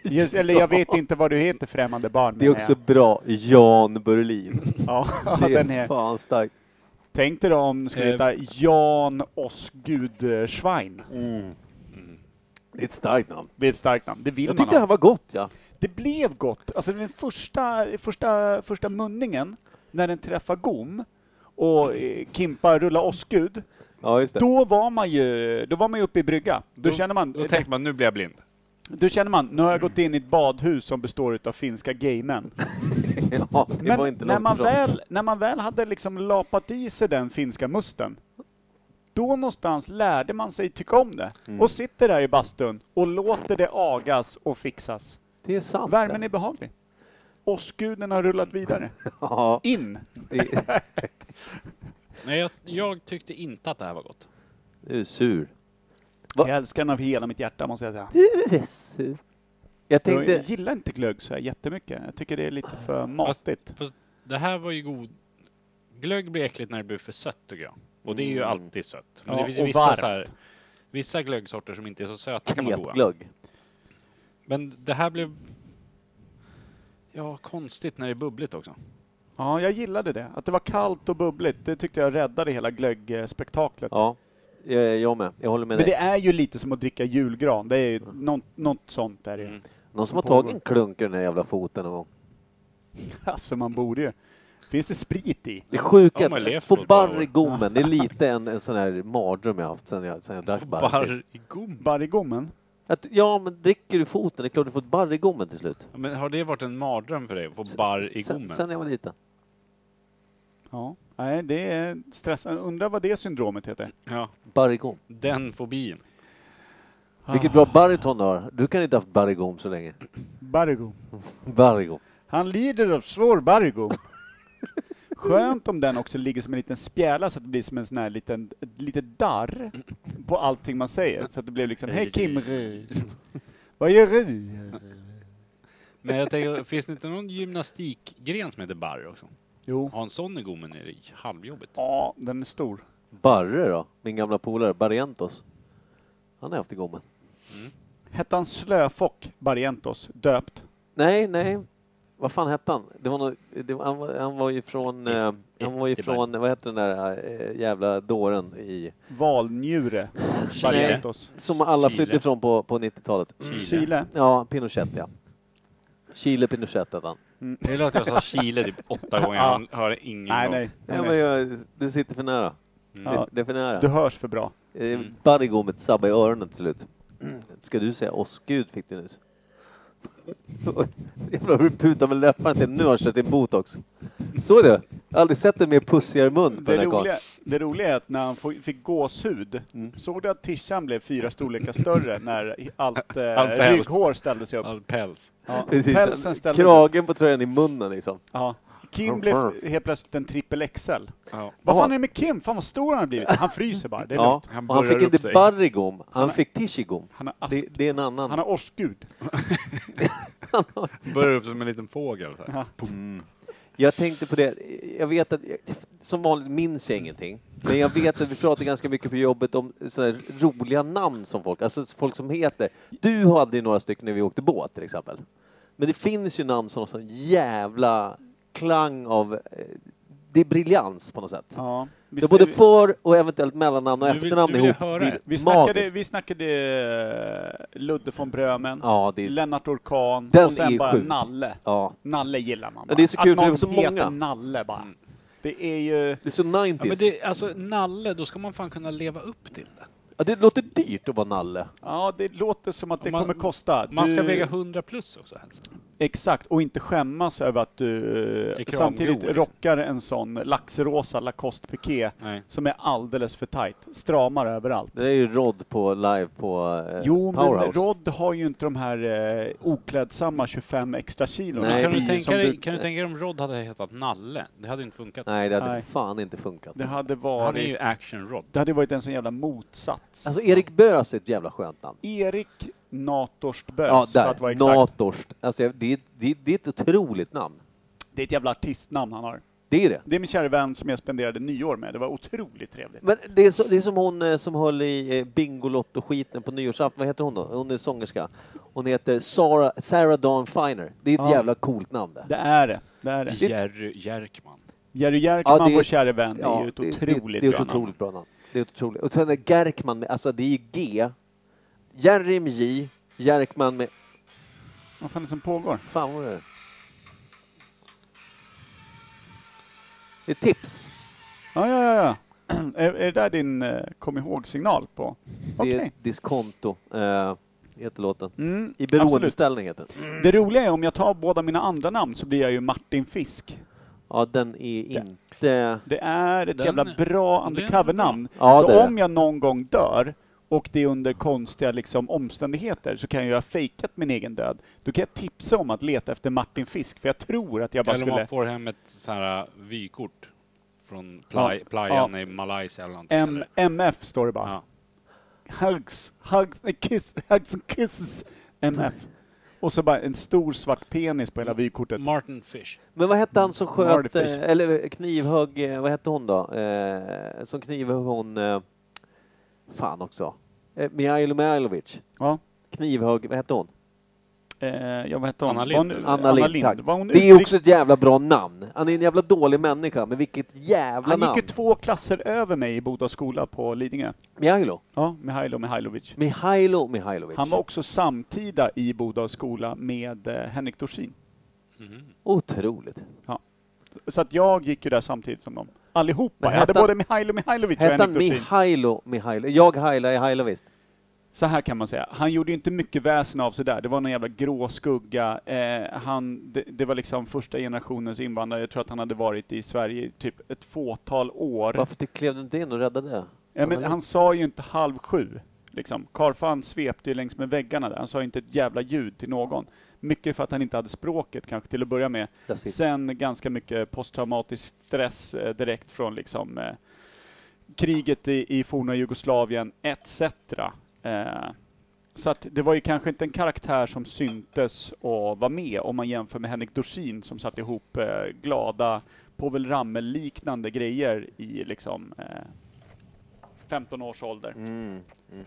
A: Just, eller jag vet inte vad du heter främmande barn.
B: Det är också bra. Jan Berlin.
A: Ja,
B: Det
A: den
B: är
A: är.
B: fan starkt.
A: Tänk dig då om det skulle heta Jan Osgud Schwein. Mm.
B: Det är ett starkt namn.
A: Det är ett starkt namn. Det vill
B: Jag
A: man
B: tyckte det
A: ha.
B: här var gott, ja.
A: Det blev gott. Alltså den första, första, första munningen, när den träffar gom och eh, Kimpa rullar Osgud,
B: Ja, just det.
A: då var man ju, då var man ju uppe i brygga. Då, känner man,
C: Då tänkte man, nu blir jag blind.
A: då känner man, nu har jag gått in i ett badhus som består av finska gaymän.
B: Ja, det var
A: Men
B: inte
A: när
B: långt
A: man,
B: ifrån.
A: väl, när man väl hade liksom lapat i sig den finska musten, då någonstans lärde man sig tycka om det.
B: Mm.
A: Och sitter där i bastun och låter det agas och fixas.
B: Det är sant.
A: Värmen
B: det.
A: är behaglig. Åskguden har rullat vidare.
B: Ja,
A: In!
B: det är...
C: Nej, jag, jag tyckte inte att det här var gott.
B: Du är sur. Va?
A: Jag älskar den av hela mitt hjärta måste jag säga.
B: Du är sur. Jag
A: Jag
B: tänkte...
A: gillar inte glögg så här jättemycket. Jag tycker det är lite för matigt.
C: Fast det här var ju god... Glögg blir äckligt när det blir för sött tycker jag. Och det är ju alltid sött. Men
A: Mm. Ja,
C: det finns ju
A: och
C: vissa
A: varmt.
C: så här, Vissa glöggsorter som inte är så söta kan vara goda.
B: Knepglögg.
C: Men det här blev... Ja, konstigt när det är bubbligt också.
A: Ja, jag gillade det. Att det var kallt och bubbligt, det tyckte jag räddade hela glöggspektaklet.
B: Ja, jag, jag med. Jag håller med
A: Men
B: dig.
A: det Mm. är ju lite som att dricka julgran, det är ju något, något sånt är det ju.
C: Mm.
B: Någon som har
A: som pågår.
B: tagit en klunk i den här jävla foten någon gång.
A: Alltså man borde ju. Finns det sprit i?
B: Det är sjukt
C: Ja,
B: att
C: man lever
B: få
C: väl ett par
B: barr
C: år.
B: i gommen, det är lite en, en sån här mardröm jag haft sen jag, sen jag drack barr. sist.
C: Barr i gom.
A: Barrigommen?
B: Att, ja, men dricker du foten, det är klart du får ett barr i gommen till slut.
C: Ja, Men har det varit en mardröm för dig att få barr i
B: Sen,
C: gommen?
B: sen jag var liten.
A: Ja. Nej, det är stress. Undrar vad det syndromet heter?
C: Ja,
B: Barr i gom.
C: den fobin.
B: Vilket bra bariton du har. Du kan inte ha haft barr i gom så länge.
A: Barrigom.
B: Barr i gom.
A: Han lider av svår barrigom. Skönt om den också ligger som en liten spjäla så att det blir som en sån här liten, ett litet darr på allting man säger. Så att det blir liksom, hej Kim Ry. Vad gör du?
C: Men jag tänker, finns det inte någon gymnastikgren som heter barr också?
A: Jo.
C: Ha en sån i gommen är det halvjobbigt.
A: Ja, den är stor.
B: Barre då, min gamla polare, Barrientos. Han har haft i gommen.
A: Hette han Slöfock Barrientos, döpt?
B: Nej, nej. Vad fan hette han? Det var nog, det, var- han, var, han var ju från, eh, han var ju
C: det var-
B: från, vad heter den där eh, jävla dåren i,
A: Valnjure Barrientos.
B: som alla
C: Chile.
B: flydde ifrån på, på 90-talet.
C: Chile.
A: Chile.
B: Ja, Pinochet ja. Chile Pinochet hette han.
C: Det är att jag sa Chile typ åtta gånger.
A: Ja.
C: Han hör ingen
A: Nej,
C: gång.
A: nej. nej,
B: Ja, men
A: nej.
B: jag, du sitter för nära.
C: Mm.
A: Ja,
B: Det är för nära.
A: du hörs för bra.
B: Eh, Barrigommet sabbar i öronen till slut. Ska du säga åskgud fick du nyss? Jävlar vad du putar med läpparna till nu har jag kört din botox. Så du! Jag har aldrig sett en mer pussigare mun på den
A: Det
B: här
A: roliga,
B: karln.
A: det roliga är att när han få- fick gåshud,
B: Mm.
A: såg du att tishan blev fyra storlekar större när i- allt, eh,
C: Allt päls.
A: rygghår ställde sig upp?
C: All päls.
A: Ja,
B: Precis.
A: pälsen ställde sig upp.
B: Kragen på tröjan i munnen liksom.
A: Ja. Kim blev f- helt plötsligt en trippel XL.
C: Ja.
A: Vad
B: Ja.
A: fan är det med Kim? Fan vad stor han har blivit. Han fryser bara, det är
B: Ja.
A: lugnt.
C: Han
B: och han
C: burrar
B: fick
C: upp
B: inte
C: sig.
B: barrigom, han fick tishigom.
A: Han har, ask,
B: Det, det är en annan.
A: han har årsgud.
C: Börjar upp som en liten fågel. Så här.
B: Jag tänkte på det, jag vet att, som vanligt minns jag ingenting, men jag vet att vi pratar ganska mycket på jobbet om sådana här roliga namn som folk, alltså folk som heter. Du hade ju några stycken när vi åkte båt till exempel. Men det finns ju namn som har sån jävla klang av, eh, det är briljans på något sätt.
A: Ja.
B: det är både för och eventuellt mellannamn och
C: Nu vill-
B: efternamn
C: nu vill jag
B: ihop.
C: höra
B: Det är
C: ett.
A: vi, snackade,
B: magiskt.
A: vi snackade eh, Ludde von Brömen,
B: Ja, det är-
A: Lennart Orkan
B: Den
A: och
B: är
A: sen
B: ju
A: bara
B: sjuk.
A: Nalle.
B: Ja.
A: Nalle gillar man
B: Ja,
A: bara.
B: det är så kul,
A: Att
B: för det är
A: någon
B: så
A: heter
B: många. Mm.
A: Nalle bara. Det är ju...
B: Det är så 90s.
C: Ja, men det, alltså, nalle, då ska man fan kunna leva upp till det.
B: låter dyrt att vara nalle.
A: Ja, det låter som att det
C: Man-
A: kommer kosta.
C: Man ska
A: Du-
C: väga 100 plus också helst.
A: Exakt, och inte skämmas över att du eh,
C: Är kramgrå,
A: samtidigt
C: liksom.
A: rockar en sån laxrosa Lacoste piké
C: Nej.
A: som är alldeles för tight. Stramar överallt.
B: Det är ju Rod på live på eh,
A: Jo, men
B: Powerhouse.
A: Rod har ju inte de här eh, oklädsamma 25 extra kilo.
B: Nej,
C: kan,
B: det
C: du
B: är
C: tänka
A: som
C: dig,
A: du-
C: kan du tänka dig om Rod hade hetat Nalle? Det hade inte funkat.
B: Nej, det hade
A: Nej.
B: fan inte funkat.
A: Det hade
C: Han är ju
A: varit...
C: action-Rod.
A: Det hade varit en sån jävla motsats.
B: Alltså Erik Bös är ett jävla skönt namn.
A: Erik Natorst Bös,
B: Ja,
A: för att vara
B: där.
A: exakt.
B: Natorst. Alltså, jag- det, är- det, är- det är ett otroligt namn.
A: Det är ett jävla artistnamn han har.
B: Det är det.
A: Det är min kära vän som jag spenderade nyår med. Det var otroligt trevligt.
B: Men det är, så, det är som hon eh, som höll i eh, Bingolotto-skiten på nyårsafton. Vad heter hon då? Hon är sångerska. Hon heter Sarah, Sarah Dawn Finer. Det är ett
A: Ja.
B: jävla coolt namn det.
A: Det är det. Det är det.
C: Jerry Jerkman.
A: Jerry
B: Ja,
A: Jerkman,
B: det är-
A: vår kära vän, är
B: Ja,
A: ju ett
B: det-
A: otroligt
B: det, det är
A: bra
B: ett
A: namn.
B: otroligt bra namn. Det är ett otroligt. Och sen är Gerkman med, alltså det är ju G. Jerry med J. Jerkman med,
A: Vad fan är det som pågår?
B: fan vad är det? Det är tips.
A: Ja, ja, ja. ja. är, är det där din eh, kom ihåg-signal på?
B: Det
A: Okej.
B: är diskonto, eh, heter låten.
A: Mm,
B: I
A: absolut.
B: beroendeställning heter den.
A: Det roliga är om jag tar båda mina andra namn så blir jag ju Martin Fisk.
B: Ja, den är inte...
A: Det är ett
C: Den-
A: jävla bra
C: den är
A: undercover-namn.
B: Ja, det är
A: så
B: det.
A: om jag någon gång dör och det är under konstiga liksom, omständigheter så kan jag ju ha fejkat min egen död. Då kan jag tipsa om att leta efter Martin Fisk för jag tror att jag bara
C: Eller om man
A: skulle...
C: får hem ett så här äh, vykort från ply, playan i Malaysia eller någonting.
A: M-
C: eller?
A: MF står det bara.
C: Ja.
A: hugs, hugs, nej, kiss, hugs and kisses, MF. Och så bara en stor svart penis på hela vykortet.
C: Martin Fish.
B: Men vad hette han som
A: Marty
B: sköt,
A: Fish.
B: eh, eller knivhögg, eh, vad hette hon då? Eh, som knivhögg hon, eh, fan också, eh, Mihailo Mihailovic.
A: Ja.
B: Knivhögg, vad hette hon?
A: Eh, ja, vad hette hon?
C: Anna
A: Var
C: Lindh,
A: hon-
C: eller?
B: Anna Lindh, tack.
A: Var hon
B: Det är
A: utrikes-
B: också ett jävla bra namn. Han är en jävla dålig människa, men vilket jävla
A: Han gick
B: namn!
A: ju två klasser över mig i Boda skola på Lidingö.
B: Mihailo.
A: Ja, Mihailo Mihailovic.
B: Mihailo Mihailovic.
A: Han var också samtida i Boda skola med eh, Henrik Dorsin.
B: Otroligt.
A: Så att jag gick ju där samtidigt som dem. Allihopa.
B: Men
A: Jag hade
B: hette-
A: både Mihailo Mihailovic och
B: Hette han
A: Henrik Dorsin.
B: Mihailo Mihailo? Jag Haila är Haila visst.
A: Så här kan man säga. Han gjorde ju inte mycket väsen av sig där. Det var någon jävla grå skugga. Eh, han, det, det var liksom första generationens invandrare. Jag tror att han hade varit i Sverige i typ ett fåtal år.
B: Varför ty- klev du inte in och räddade?
A: Ja, men han sa ju inte halv sju. Liksom. Karfan svepte ju längs med väggarna där. Han sa inte ett jävla ljud till någon. Mycket för att han inte hade språket kanske till att börja med.
B: Där sitter-
A: Sen ganska mycket posttraumatisk stress eh, direkt från liksom, eh, kriget i, i forna Jugoslavien etc. Eh, så att det var ju kanske inte en karaktär som syntes och var med om man jämför med Henrik Dorsin som satte ihop eh, glada Povel Ramel-liknande grejer i liksom eh, 15 års ålder.
B: Mm. Mm.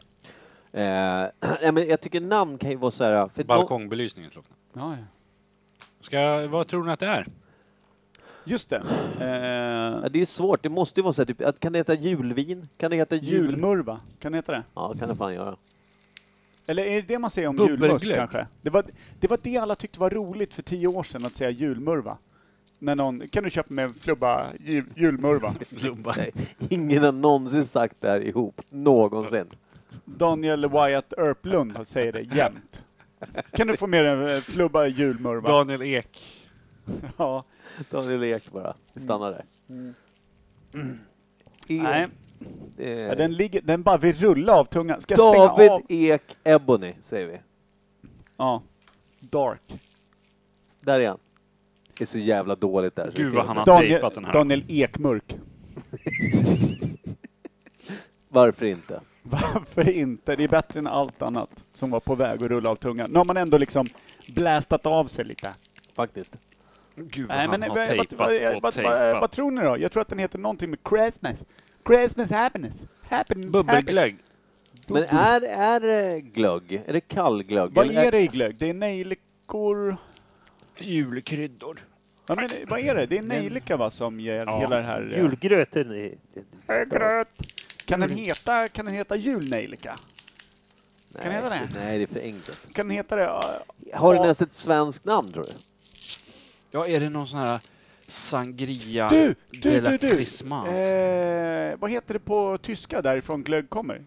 B: Eh, nej, men jag tycker namn kan ju vara så här... äh, För
C: Balkongbelysningen slocknade.
A: Ja, ja.
C: Ska jag, vad tror ni att det är?
A: Just det.
B: Ja,
A: Eh,
B: det är svårt. Det måste ju vara så här, typ, att kan det heta julvin? Kan det heta jul...
A: julmurva, kan det heta det?
B: Ja, kan det fan göra.
A: Eller är det det man säger om
C: Bubbelglögg.
A: julmust kanske? Det var, det var det alla tyckte var roligt för tio år sedan, att säga julmurva. När någon, kan du köpa med en flubba ju, julmurva?
C: Flubba.
B: Nej, Ingen har någonsin sagt det här ihop. Någonsin.
A: Daniel Wyatt Erplund säger det jämt. Kan du få med dig en eh, flubba julmurva?
C: Daniel Ek.
A: ja.
B: Daniel Ek bara. Vi stannar där. E-
A: Mm. Nej,
B: eh,
A: ja, den, ligger, den bara vill rulla av tungan. Ska jag
B: David
A: stänga av?
B: Ek Ebony, säger vi.
A: Ja. Dark.
B: Där är han. Det är så jävla dåligt där. så
C: Gud
B: det
C: vad
B: finns
C: han
B: inte.
C: har tejpat den här.
A: Daniel Ekmörk.
B: Varför inte?
A: Varför inte? Det är bättre än allt annat som var på väg att rulla av tungan. Nu har man ändå liksom blästat av sig lite.
B: Faktiskt.
C: Gud vad
A: Nej,
C: han
A: men
C: har
A: vad- vad-
C: tejpat
A: vad- vad-
C: och
A: vad- vad- Vad
C: tejpat.
A: tror ni då? Jag tror att den heter någonting med Christmas. Christmas happiness. happiness
C: Bubbelglögg.
B: Men är, är det glögg? Är det kallglögg?
A: happiness. Vad
B: Eller
A: är det i glögg? Det är nejlikor.
C: Julkryddor.
A: Ja, men, vad är det? Det är nejlika va, som ger
C: Ja.
A: hela det här... eh,
F: Julgröten är...
A: Gröt. Kan den heta, kan den heta julnejlika?
B: Nej,
A: Kan det heta det?
B: Nej, det är för enkelt.
A: Kan den heta det? Ja,
B: Har
A: Ja.
B: den ens ett svenskt namn, tror du?
C: Ja, är det någon sån här sangria
A: Du,
C: de
A: du,
C: la
A: du, du.
C: Christmas?
A: Eh, vad heter det på tyska därifrån glögg kommer?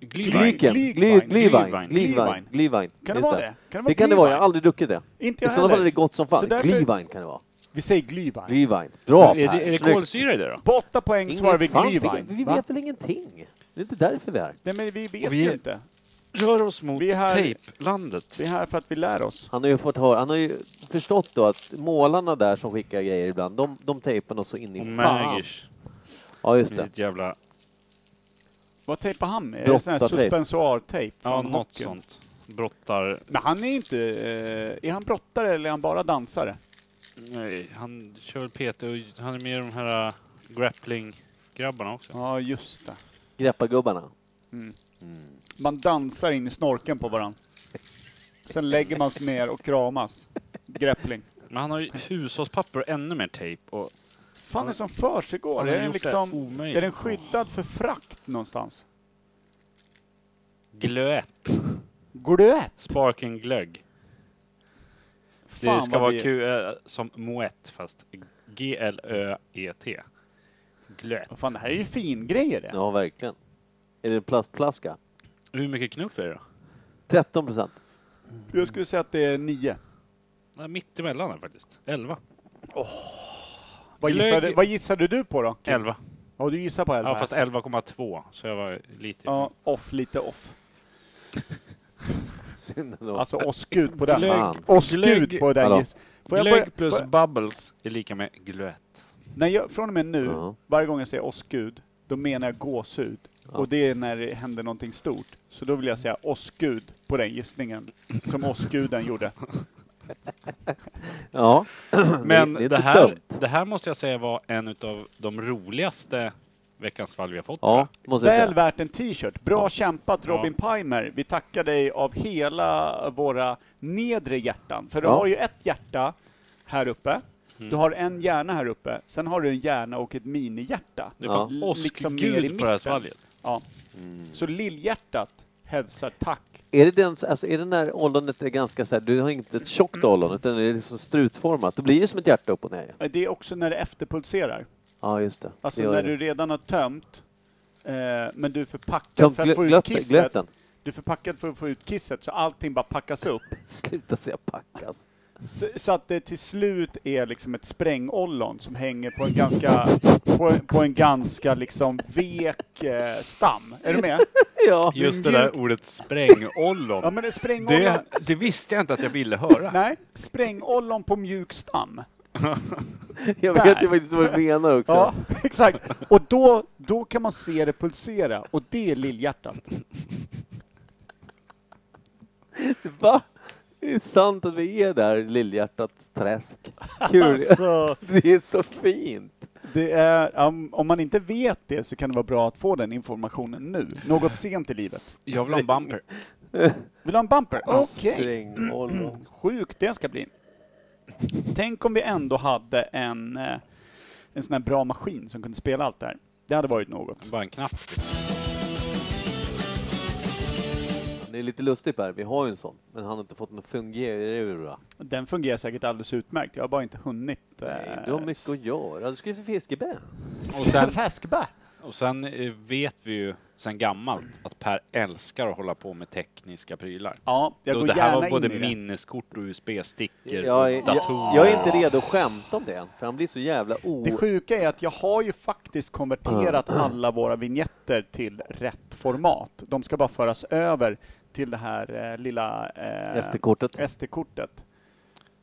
C: Glühwein.
B: Glyken. Gly-
A: Glühwein.
B: Glühwein.
C: Glühwein.
B: Glühwein. Glühwein.
A: Kan det
B: Just
A: vara det? Kan
B: Det kan det
A: glühwein?
B: vara, jag har aldrig druckit det.
A: Inte
B: I
A: jag
B: sådana fall är det
A: heller.
B: gott som
A: Så
B: fan.
A: därför-
B: Glühwein kan det vara.
A: Vi säger glühwein.
B: Glühwein. Bra
C: Är det, är det
B: Snyggt.
C: kolsyra i det då?
A: På åtta poäng
B: Ingen
A: svarar vi
B: fan,
A: glühwein.
B: Vi, vi
A: Va?
B: vet väl ingenting? Det är inte därför vi är här.
A: Nej, men vi vet
C: Och vi-
A: ju inte.
C: Rör oss mot
A: Vi är här-
C: tejplandet.
A: Vi är här för att vi lär oss.
B: Han har ju fått höra, han har ju förstått då att målarna där som skickar grejer ibland, de, de tejpar något så in i
C: Och
B: fan.
C: Magish.
B: Ja, just
C: Med
B: det.
C: sitt jävla...
A: Vad tejpar han med? Är det sån här
B: Brottartejp.
A: suspensoartejp?
C: Ja,
A: från
C: något
A: hockeyn?
C: sånt. Brottar...
A: Men han är inte... Eh, är han brottare eller är han bara dansare?
C: Nej, han kör väl PT och han är med i de här äh, grappling-grabbarna också.
A: Ja, just det.
B: Greppargubbarna.
A: Mm.
B: Mm.
A: Man dansar in i snorken på varandra. Sen lägger man sig ner och kramas. Greppling.
C: Men han har ju hushållspapper och ännu mer tejp. Och
A: fan är det som försiggår?
C: han
A: Är
C: har
A: den
C: gjort det
A: liksom...
C: omöjligt.
A: Är den skyddad för frakt någonstans?
C: Glöet.
A: Glöt!
C: Sparkling glögg.
A: Fan
C: det ska
A: vad
C: vara
A: vi-
C: Q, eh, som moet fast G-L-Ö-E-T. Glöt.
A: Vad Fan, det här är ju fingrejer det.
B: Ja, verkligen. Är det en plastflaska?
C: Hur mycket knuff är det då?
B: 13 procent.
A: Jag skulle säga att det är nio.
C: Nej, mitt emellan här faktiskt. 11.
A: Vad
C: Glögg-
A: gissade, vad gissade du på då?
C: 11.
A: Ja, du gissar på elva.
C: Ja, fast 11,2. Så jag var lite...
A: Ja, off, lite off.
B: Synd ändå.
A: Alltså oss gud på den.
C: Glögg.
B: Fan.
A: Oss
C: Glögg.
A: gud på den.
B: Hallå.
A: giss- Får jag
C: glögg
A: börja-
C: plus
A: får jag-
C: bubbles är lika med glöt.
A: Nej, jag, från och med nu,
B: Ja.
A: varje gång jag säger oss gud, då menar jag gåshud. Och det är när det händer någonting stort. Så då vill jag säga oss gud på den gissningen som oss guden gjorde.
B: Ja.
C: Men
B: det är inte
C: det, här,
B: dumt.
C: det här måste jag säga var en av de roligaste veckans fall vi har fått. tror
B: Ja,
C: jag.
B: måste jag
A: Väl
B: säga.
A: värt en t-shirt. Bra
B: Ja.
A: kämpat Robin Pimer. Vi tackar dig av hela våra nedre hjärtan. För du
B: Ja.
A: har ju ett hjärta här uppe. Du
C: Mm.
A: har en hjärna här uppe. Sen har du en hjärna och ett minihjärta.
C: Det är
B: Ja.
C: fan
A: Liksom
C: åskgud
A: ner i
C: på det här
A: mitten.
C: svalget.
A: Ja.
B: Mm.
A: Så lillhjärtat hälsar tack.
B: Är det den, alltså, är det när ollonet är ganska så här, du har inte ett tjockt
A: Mm.
B: ollon utan det är liksom strutformat. Det blir ju som ett hjärta upp och ner. ja.
A: Eh, Det är också när det efterpulserar.
B: Ja, just det.
A: Alltså
B: Det gör
A: när
B: det.
A: du redan har tömt, eh, men du är förpackad
B: Tömt
A: för att få ut
B: glöt-
A: kisset.
B: glöten.
A: Du är förpackad för att få ut kisset, så allting bara packas upp.
B: Sluta säga packas.
A: Så, så att det till slut är liksom ett sprängollon som hänger på en ganska, på, på en ganska liksom vek eh, stam. Är du med?
B: Ja.
C: Just det där ordet sprängollon.
A: Ja men det är sprängollon.
C: det, det visste jag inte att jag ville höra.
A: Nej, sprängollon på mjuk stam.
B: Jag
A: Där.
B: vet ju faktiskt vad du menar också.
A: Ja, exakt. Och då, då kan man se det pulsera och det är lillhjärtat.
B: Va? Det är sant att vi är där, Lillhjärtats träsk. Kul.
A: Alltså,
B: Det är så fint.
A: det är, um, om, om man inte vet det så kan det vara bra att få den informationen nu, något sent i livet.
C: Jag vill ha en bumper.
A: Vill du ha en bumper? Okej.
B: Sprängollon.
A: Sjukt det ska bli. Tänk om vi ändå hade en, eh, en sån här bra maskin som kunde spela allt det här. Det hade varit något.
C: Bara en knapp.
B: Det är lite lustigt Per, vi har ju en sån. Men han har inte fått någon fungera.
A: Den fungerar säkert alldeles utmärkt. Jag har bara inte hunnit. eh,
B: Nej, du har mycket att göra. Du ska ju till Fiskebä.
C: Och sen,
A: Fäskbä.
C: och sen eh, vet vi ju sen gammalt att Per älskar att hålla på med tekniska prylar.
A: Ja, jag
C: Då
A: går
C: det här
A: gärna
C: var både
A: in i det.
C: minneskort och USB-stickor
B: Jag,
C: och
B: är-
C: datorer.
B: jag, jag är inte redo att skämta om det än, för han blir så jävla o...
A: Det sjuka är att jag har ju faktiskt konverterat alla våra vignetter till rätt format. De ska bara föras över till det här eh, lilla
B: Äh.
A: eh,
B: SD-kortet.
A: SD-kortet.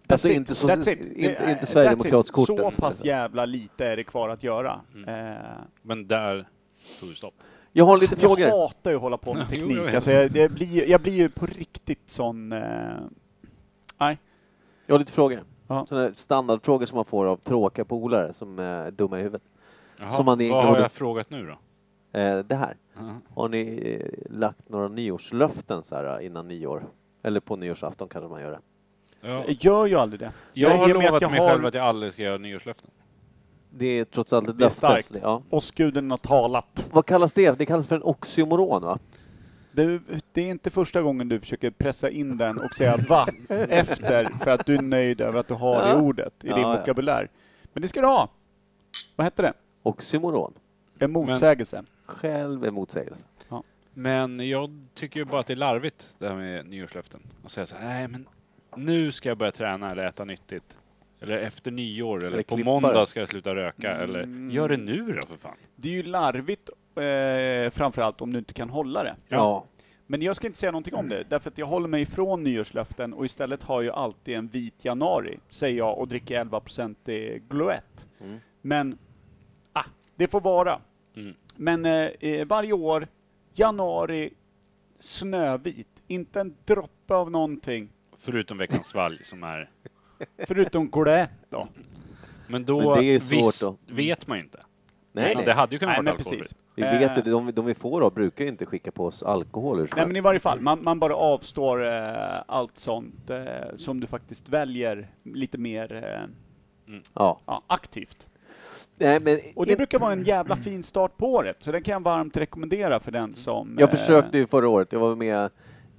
B: Alltså
A: That's
B: inte
A: it.
B: så-
A: That's it.
B: inte- liksom.
A: Det är-
B: inte
A: that's
B: Sverigedemokratskortet.
A: it. Så pass jävla lite är det kvar att göra.
C: Mm.
A: Eh,
C: Men där tog det stopp.
B: Jag har lite
A: jag
B: frågor.
A: hatar ju att hålla på med
C: Jo, jag
A: teknik.
C: vet.
A: Alltså jag, jag, blir, ju- jag blir ju på riktigt sån... Eh, nej.
B: Jag har lite frågor.
A: Ja.
B: Sådana här standardfrågor som man får av tråkiga polare som är dumma i huvudet.
C: Jaha,
B: Som man är-
C: vad har
B: gjorde-
C: jag frågat nu då?
B: Eh, det här.
C: Ja.
B: Har ni eh, lagt några nyårslöften så här eh, innan nyår? Eller på nyårsafton kanske man gör det.
C: Ja.
A: Jag gör ju aldrig det.
C: Jag har
A: i och med att
C: lovat
A: jag
C: mig
A: har-
C: själv att jag aldrig ska göra nyårslöften.
B: Det är trots allt ett
A: Det är
B: löfte.
A: starkt.
B: så det- Ja.
A: Och skuden har talat.
B: Vad kallas det? Det kallas för en oxymoron va?
A: Du, det är inte första gången du försöker pressa in den och säga va efter för att du är nöjd över att du har det
B: Ja.
A: ordet i din
B: Ja, ja.
A: vokabulär. Men det ska du ha. Vad hette det?
B: Oxymoron.
A: En motsägelse.
B: Själv är motsägelse.
C: Men jag tycker ju bara att det är larvigt det här med nyårslöften. Och säga så här, nej men nu ska jag börja träna eller äta nyttigt. Eller efter nyår eller,
B: Eller
C: på
B: klippa
C: måndag
B: det. Mm.
C: ska jag sluta röka. Eller gör det nu då för fan.
A: Det är ju larvigt eh, framförallt om du inte kan hålla det.
C: Ja.
A: Men jag ska inte säga någonting om det, därför att jag håller mig ifrån nyårslöften och istället har jag alltid en vit januari, säger jag och dricker 11% i Gloette.
B: Mm.
A: Men, ah, det får vara.
C: Mm.
A: Men eh, eh, varje år, januari, snövit. Inte en droppe av någonting,
C: Förutom veckans svalg som är...
A: förutom Gloette då.
C: Men då
B: Men det är ju svårt
C: visst,
B: då.
C: vet man ju inte.
B: Nej,
C: Men
B: nej.
C: Det hade ju kunnat
A: Nej,
C: vara
A: men
C: alkoholfritt.
A: precis.
B: Vi vet
A: Eh,
B: att de, de vi får av brukar ju inte skicka på oss alkohol ur som
A: Nej
B: helst.
A: men i varje fall, man, man bara avstår eh, allt sånt eh, som du faktiskt väljer lite mer eh,
B: Ja.
A: ja, aktivt.
B: Nej, men
A: Och det brukar vara en jävla fin start på året, så den kan jag varmt rekommendera för den som...
B: Jag
A: eh,
B: försökte ju förra året. Jag var med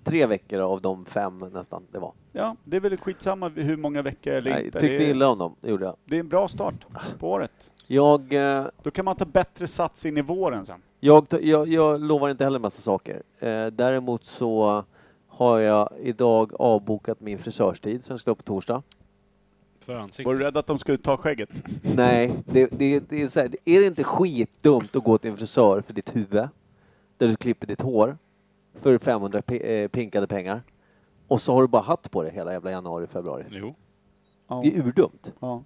B: tre veckor av de fem nästan det var.
A: Ja, det är väl skitsamma hur många veckor eller
B: Nej,
A: inte.
B: tyckte
A: det, är,
B: illa om dem, det gjorde jag.
A: det är en bra start på året.
B: Jag, eh,
A: Då kan man ta bättre sats in i våren sen.
B: jag, ta- jag, jag lovar inte heller massa saker. Eh, däremot så har jag idag avbokat min frisörstid som jag ska ha på torsdag.
C: För ansiktet.
A: Var du rädd att de skulle ta skägget?
B: Nej, det, det, det är så här, är det inte skitdumt att gå till en frisör för ditt huvud, där du klipper ditt hår, för 500 pi- eh, pinkade pengar, och så har du bara hatt på dig hela jävla januari, februari.
C: Jo.
A: Ja.
B: Det är urdumt.
A: ja.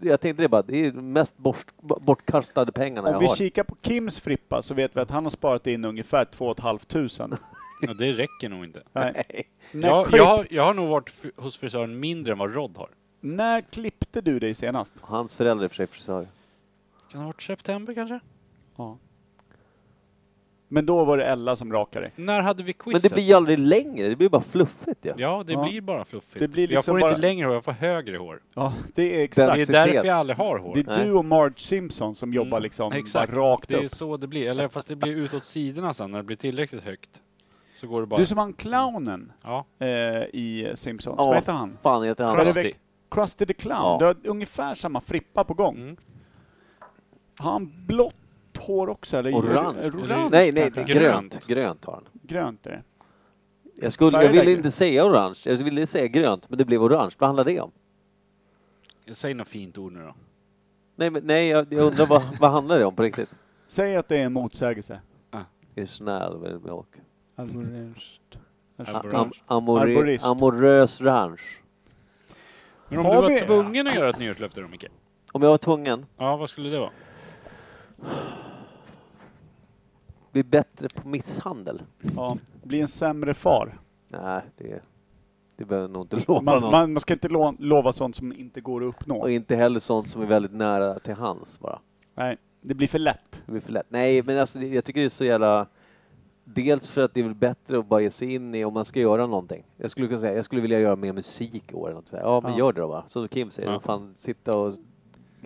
B: Jag tänkte det bara, det är mest bort, bortkastade pengarna jag
A: Om vi
B: har.
A: kikar på Kims Frippa så vet vi att han har sparat in ungefär 2 500.
C: Ja, det räcker nog inte.
A: Nej. När,
C: Jag,
A: klipp,
C: jag, har- jag har nog varit fri- hos frisören mindre än vad Rod har.
A: när klippte du dig senast?
B: Hans föräldrar är i och för sig frisörer.
C: Kan ha varit september kanske?
A: Ja. Men då var det Ella som rakade.
C: När hade vi
B: Men
C: quizet?
B: det blir ju aldrig längre, det blir bara fluffigt ju.
C: Ja, det
A: Ja.
C: blir bara fluffigt.
A: Det blir
C: jag
A: liksom
C: får
A: bara-
C: inte längre hår, jag får högre hår.
A: Ja, det är
C: Det
A: exakt.
C: är
B: Klassitet.
C: därför jag aldrig har hår.
A: Det är
B: Nej.
A: du och Marge Simpson som jobbar
C: Mm,
A: liksom
C: Exakt.
A: bara rakt
C: det är
A: upp.
C: så det blir. Eller fast det blir utåt sidorna sen när det blir tillräckligt högt. Så går det bara...
A: Du som han clownen
C: Ja.
A: eh, i Simpsons,
B: Ja,
A: vad heter han?
B: fan heter han?
A: Krusty.
C: Krusty.
A: Veck- Krusty the Clown.
B: Ja.
A: Du har ungefär samma frippa på gång.
C: Mm.
A: Har han blått hår också? Eller
B: Orange.
A: orange
B: Nej, nej, det är
A: kanske?
B: grönt. Grönt har han.
A: Grönt är det.
B: Jag, skulle, jag
A: Färglägger.
B: ville inte säga orange, jag ville säga grönt, men det blev orange. Vad handlar det om?
C: Säg något fint ord nu då.
B: Nej, men, nej jag, jag undrar vad, vad handlar det om på riktigt?
A: Säg att det är en motsägelse. Alltså,
B: Är du snäll med mig och...
A: Arborist.
C: Arborist.
B: Am, amore,
A: Arborist.
B: amorös ranch.
C: Men om
A: Har
C: du var
A: vi-
C: tvungen att göra ett nyårslöfte då, Micke?
B: Om jag var tvungen,
C: Ja, vad skulle det vara?
B: bli bättre på misshandel?
A: Ja, bli en sämre far.
B: Nej, det, det behöver jag nog inte lova
A: Man,
B: någon.
A: man, man ska inte lo- lova sånt som inte går att uppnå.
B: Och inte heller sånt som är väldigt nära till hands bara.
A: Nej, det blir för lätt.
B: Det blir för lätt. Nej, men alltså, det- jag tycker det är så jävla... Dels för att det är väl bättre att bara ge sig in i om man ska göra någonting. Jag skulle kunna säga, jag skulle vilja göra mer musik i år. Eller något sådär. Ja, men
A: Ja.
B: gör det då va. Så Kim säger,
C: Ja.
B: fan sitta och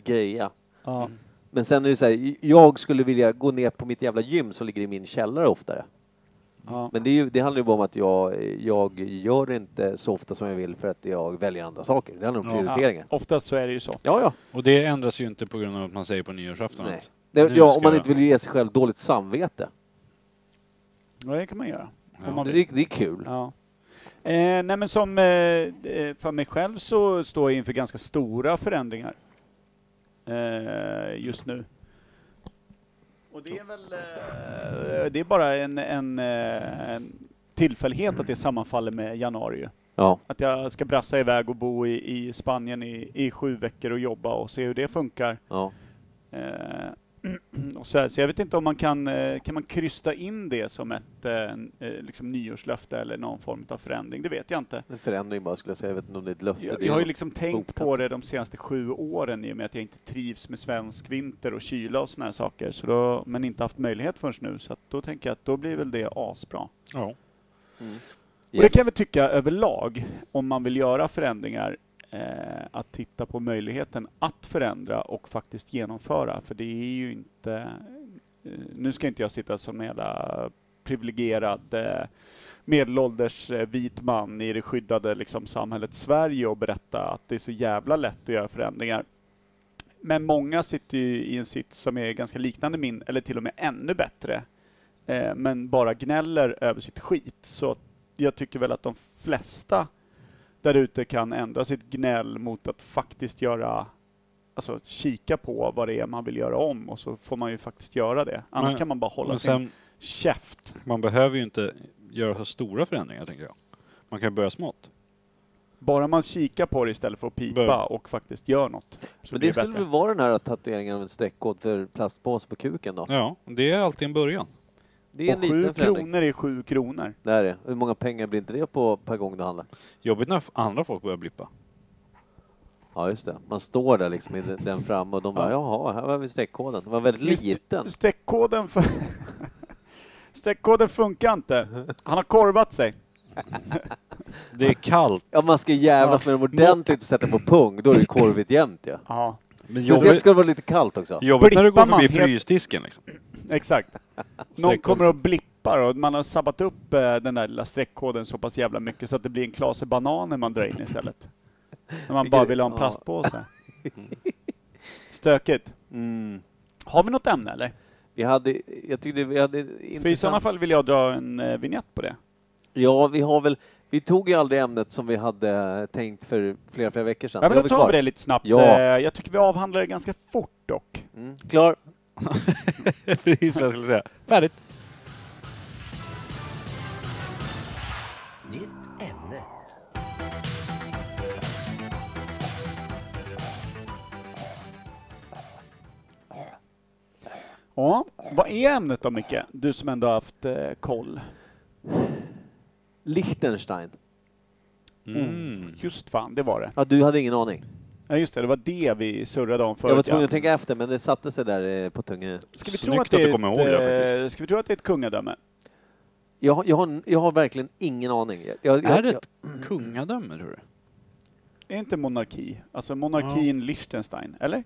B: greja.
A: Ja.
B: Mm. Men sen är det så här, jag skulle vilja gå ner på mitt jävla gym som ligger i min källare oftare.
A: Ja.
B: Men det, är ju, det handlar ju bara om att jag, jag gör det inte så ofta som jag vill för att jag väljer andra saker. Det handlar om
C: Ja.
B: prioriteringar.
A: Oftast så är det ju så.
B: Ja, ja.
C: Och det ändras ju inte på grund av att man säger på nyårsafton.
B: Nej.
C: att-
B: Det,
C: Nu
B: ja
C: ska
B: om man
C: jag-
B: inte vill ge sig själv dåligt samvete.
A: Ja, det kan man göra.
C: Ja.
A: Om man vill.
B: Det, det är kul.
A: Ja. Eh, nej men som eh, eh, för mig själv så står jag inför ganska stora förändringar eh, just nu. Och det är väl eh, det är bara en, en, eh, en tillfällighet att det sammanfaller med januari. ju.
B: Ja.
A: Att jag ska brassa iväg och bo i, i Spanien i, i sju veckor och jobba och se hur det funkar.
B: ja.
A: Eh, och så, här, så jag vet inte om man kan, eh, kan man krysta in det som ett eh, en, eh, liksom nyårslöfte eller någon form av förändring. Det vet jag inte.
B: En förändring bara skulle jag säga. Jag vet inte om det är ett löfte.
A: Jag,
B: det är
A: jag har ju
B: något
A: liksom tänkt
B: bokat.
A: på det de senaste sju åren i och med att jag inte trivs med svensk vinter och kyla och såna här saker. Så då, men inte haft möjlighet förrän nu. Så att då tänker jag att då blir väl det asbra.
C: Ja.
A: Mm. Och det
B: Yes.
A: kan vi tycka överlag, om man vill göra förändringar, eh, att titta på möjligheten att förändra och faktiskt genomföra. För det är ju inte... Eh, nu ska inte jag sitta som en jävla privilegierad eh, medelålders eh, vit man i det skyddade liksom, samhället Sverige och berätta att det är så jävla lätt att göra förändringar. Men många sitter ju i en sitt som är ganska liknande min, eller till och med ännu bättre, eh, men bara gnäller över sitt skit. Så jag tycker väl att de flesta där ute kan ändra sitt gnäll mot att faktiskt göra Alltså kika på vad det är man vill göra om och så får man ju faktiskt göra det. Annars
C: Men-
A: kan man bara hålla
C: Men
A: sin
C: sen,
A: käft.
C: man behöver ju inte göra så stora förändringar, tänker jag. Man kan börja smått.
A: Bara man kikar på det istället för att pipa
C: Bör-
A: och faktiskt gör något. Så
B: Men
A: blir
B: det
A: det
B: skulle
A: bättre.
B: väl vara den här tatueringen av en streckkod för plastpåse på kuken då?
C: Ja, det är alltid en början.
B: Det är en
A: och sju
B: liten förändring.
A: kronor är sju kronor.
B: Det här är. Hur många pengar blir inte det på per gång du handlar?
C: Jobbigt när andra folk börjar blippa.
B: Ja, just det. Man står där liksom i den- den framme och de bara jaha, här var vi streckkoden. Den var väldigt
A: Visst-
B: liten.
A: Streckkoden, för... Streckkoden funkar inte. Han har korvat sig.
C: Det är kallt.
B: Ja, man ska jävlas med dem ordentligt och sätta på pung. Då är det korvigt jämnt ju.
A: Ja,
C: Men
B: Speciellt
C: jobbigt,
B: ska det vara lite kallt också.
C: jobbigt när du går
A: Blippar man
C: förbi
A: helt-
C: frysdisken liksom.
A: exakt. Någon
C: Streckkoden.
A: kommer och blippar och man har sabbat upp eh, den där lilla streckkoden så pass jävla mycket så att det blir en klase bananer man drar in istället. När man bara vill ha en
B: Ja.
A: plastpåse. Stökigt.
B: Mm.
A: Har vi något ämne eller?
B: Vi hade, jag tyckte vi hade
A: För i sådana
B: intressant...
A: fall vill jag dra en eh, vignett på det.
B: Ja, vi har väl... Vi tog ju aldrig ämnet som vi hade tänkt för flera, flera veckor sedan.
A: Ja, men
B: har
A: då tar vi det lite snabbt.
B: Ja.
A: Eh, Jag tycker vi avhandlar det ganska fort dock.
B: Mm. Klar.
C: Precis vad jag skulle säga. Färdigt.
F: Nytt ämne.
A: Ja, vad är ämnet då Micke? Du som ändå har haft eh, koll.
B: Liechtenstein.
C: Mm.
A: Just fan, det var det.
B: Ja, du hade ingen aning.
A: Ja, just det, det var det vi surrade om förut.
B: Jag var tvungen
A: ja.
B: att tänka efter, men det satte sig där eh, på tungan.
A: Ska vi, tro
C: Snyggt
A: att det
C: att du
A: är
C: kommer
A: ett,
C: ihåg det här,
A: eh,
C: faktiskt.
A: ska vi tro att det är ett kungadöme?
B: Jag, har- jag, har, jag har verkligen ingen aning. Jag, jag,
C: Är
B: jag,
C: det ett kungadöme tror du?
A: Är inte monarki, alltså monarkin Liechtenstein, eller?
B: är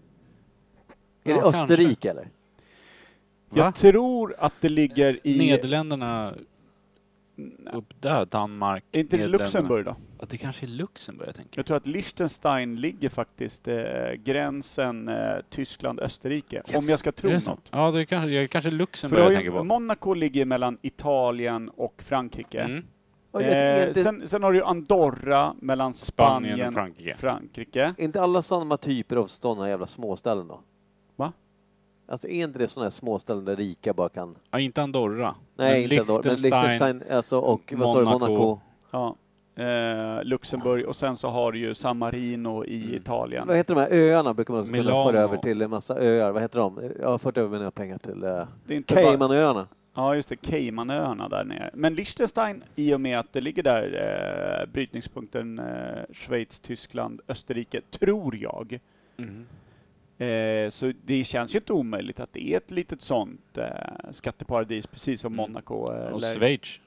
B: det
C: Ja, kanske.
B: Österrike eller?
C: Va?
A: Jag tror att det ligger i...
C: Nederländerna upp där, Danmark,
A: Är inte det
C: Nederländerna.
A: Luxemburg då?
C: Ja, det kanske är Luxemburg jag tänker.
A: Jag tror att Liechtenstein ligger faktiskt eh, gränsen eh, Tyskland-Österrike, om jag ska tro
C: Är det
A: något.
C: så? Ja, det är kanske, det är kanske
A: För det
C: Luxemburg
A: har
C: jag
A: ju-
C: tänker på.
A: Monaco ligger mellan Italien och Frankrike.
C: Mm.
B: Ja, jag- är
A: Eh,
B: inte-
A: sen, sen har du ju Andorra mellan Spanien,
C: Spanien och
A: Frankrike.
C: Frankrike.
A: Frankrike.
B: Är inte alla samma typer av sådana jävla småställen då?
A: Va?
B: Alltså är inte det sådana här småställen där rika bara kan...
C: Ja, inte Andorra.
B: Nej,
C: Men
B: inte ändå. Men Liechtenstein, alltså och vad sa du,
C: Monaco.
B: Monaco?
A: Ja. Eh, Luxemburg och sen så har du ju San Marino i
C: Mm.
A: Italien.
B: Vad heter de här öarna? Brukar man också kunna
C: Milano.
B: föra över till en massa öar. Vad heter de? Jag har fört över mina pengar till eh,
A: Det är inte bara,
B: Caymanöarna.
A: ja just det, Caymanöarna där nere. Men Liechtenstein, i och med att det ligger där, eh, brytningspunkten eh, Schweiz, Tyskland, Österrike, tror jag.
C: Mm.
A: Eh, så det känns ju inte omöjligt att det är ett litet sånt eh, skatteparadis, precis som
C: Mm.
A: Monaco. eh,
C: Och
A: eller-
C: Schweiz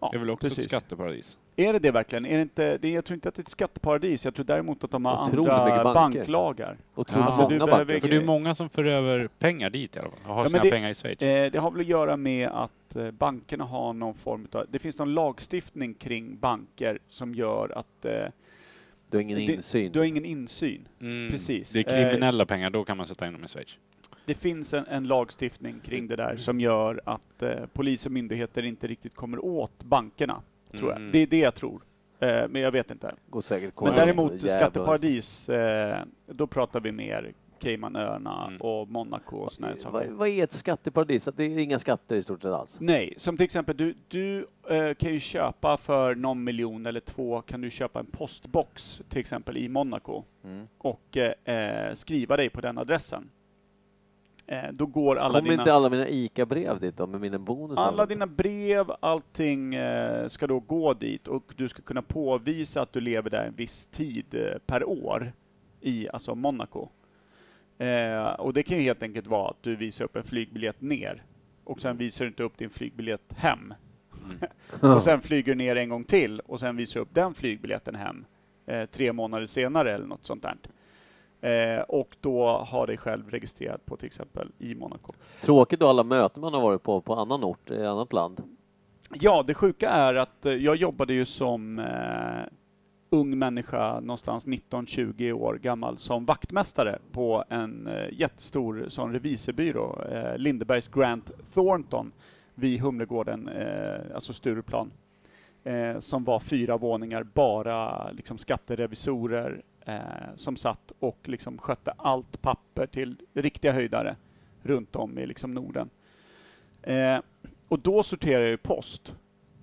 A: Ja,
C: är väl också
A: precis.
C: ett skatteparadis?
A: Är det det verkligen? Är det inte, det, jag tror inte att det är ett skatteparadis. Jag tror däremot att de har
B: Otroligt
A: andra
B: mycket banker.
A: banklagar.
B: Otroligt
C: Alltså,
A: du
B: många
A: behöver-
B: banker.
C: För det är många som för över pengar dit i alla fall. Och har
A: men
C: sina
A: det-
C: pengar i Schweiz.
A: Eh, det har väl att göra med att eh, bankerna har någon form av... Det finns någon lagstiftning kring banker som gör att eh,
B: Du har ingen
A: det-
B: insyn.
A: du har ingen insyn.
C: Mm.
A: precis. Eh,
C: Det är kriminella pengar, då kan man sätta in dem i Schweiz.
A: Det finns en, en lagstiftning kring det där som gör att eh, polis och myndigheter inte riktigt kommer åt bankerna, tror jag.
C: Mm.
A: Det är det jag tror. Eh, men jag vet inte.
B: Går säkert
A: Men
B: kolla.
A: däremot
B: Jävlar.
A: skatteparadis, eh, då pratar vi mer Caymanöarna
C: Mm.
A: och Monaco och såna här
B: Eh, Vad,
A: saker.
B: vad är ett skatteparadis? Att Det är inga skatter i stort sett alls.
A: Nej, som till exempel du, du eh, kan ju köpa för någon miljon eller två kan du köpa en postbox till exempel i Monaco
B: Mm.
A: och eh, eh, skriva dig på den adressen. Eh, då går alla
B: Kommer
A: dina...
B: inte alla mina ICA-brev dit då med mina bonusar?
A: Alla dina brev, allting eh, ska då gå dit och du ska kunna påvisa att du lever där en viss tid eh, per år i alltså Monaco. Eh, och det kan ju helt enkelt vara att du visar upp en flygbiljett ner och sen visar du inte upp din flygbiljett hem.
C: Mm.
A: Och sen flyger du ner en gång till och sen visar du upp den flygbiljetten hem eh, tre månader senare eller något sånt där. Eh, och då har dig själv registrerat på till exempel i Monaco.
B: Tråkigt då alla möten man har varit på, på annan ort, i annat land.
A: Eh. Ja, det sjuka är att eh, jag jobbade ju som eh, ung människa, någonstans 19-20 år gammal, som vaktmästare på en eh, jättestor sån revisorbyrå, eh, Lindebergs Grant Thornton, vid Humlegården, eh, alltså Stureplan, eh, som var fyra våningar, bara liksom skatterevisorer eh, som satt och liksom skötte allt papper till riktiga höjdare runt om i liksom Norden. Eh, och då sorterade jag ju post.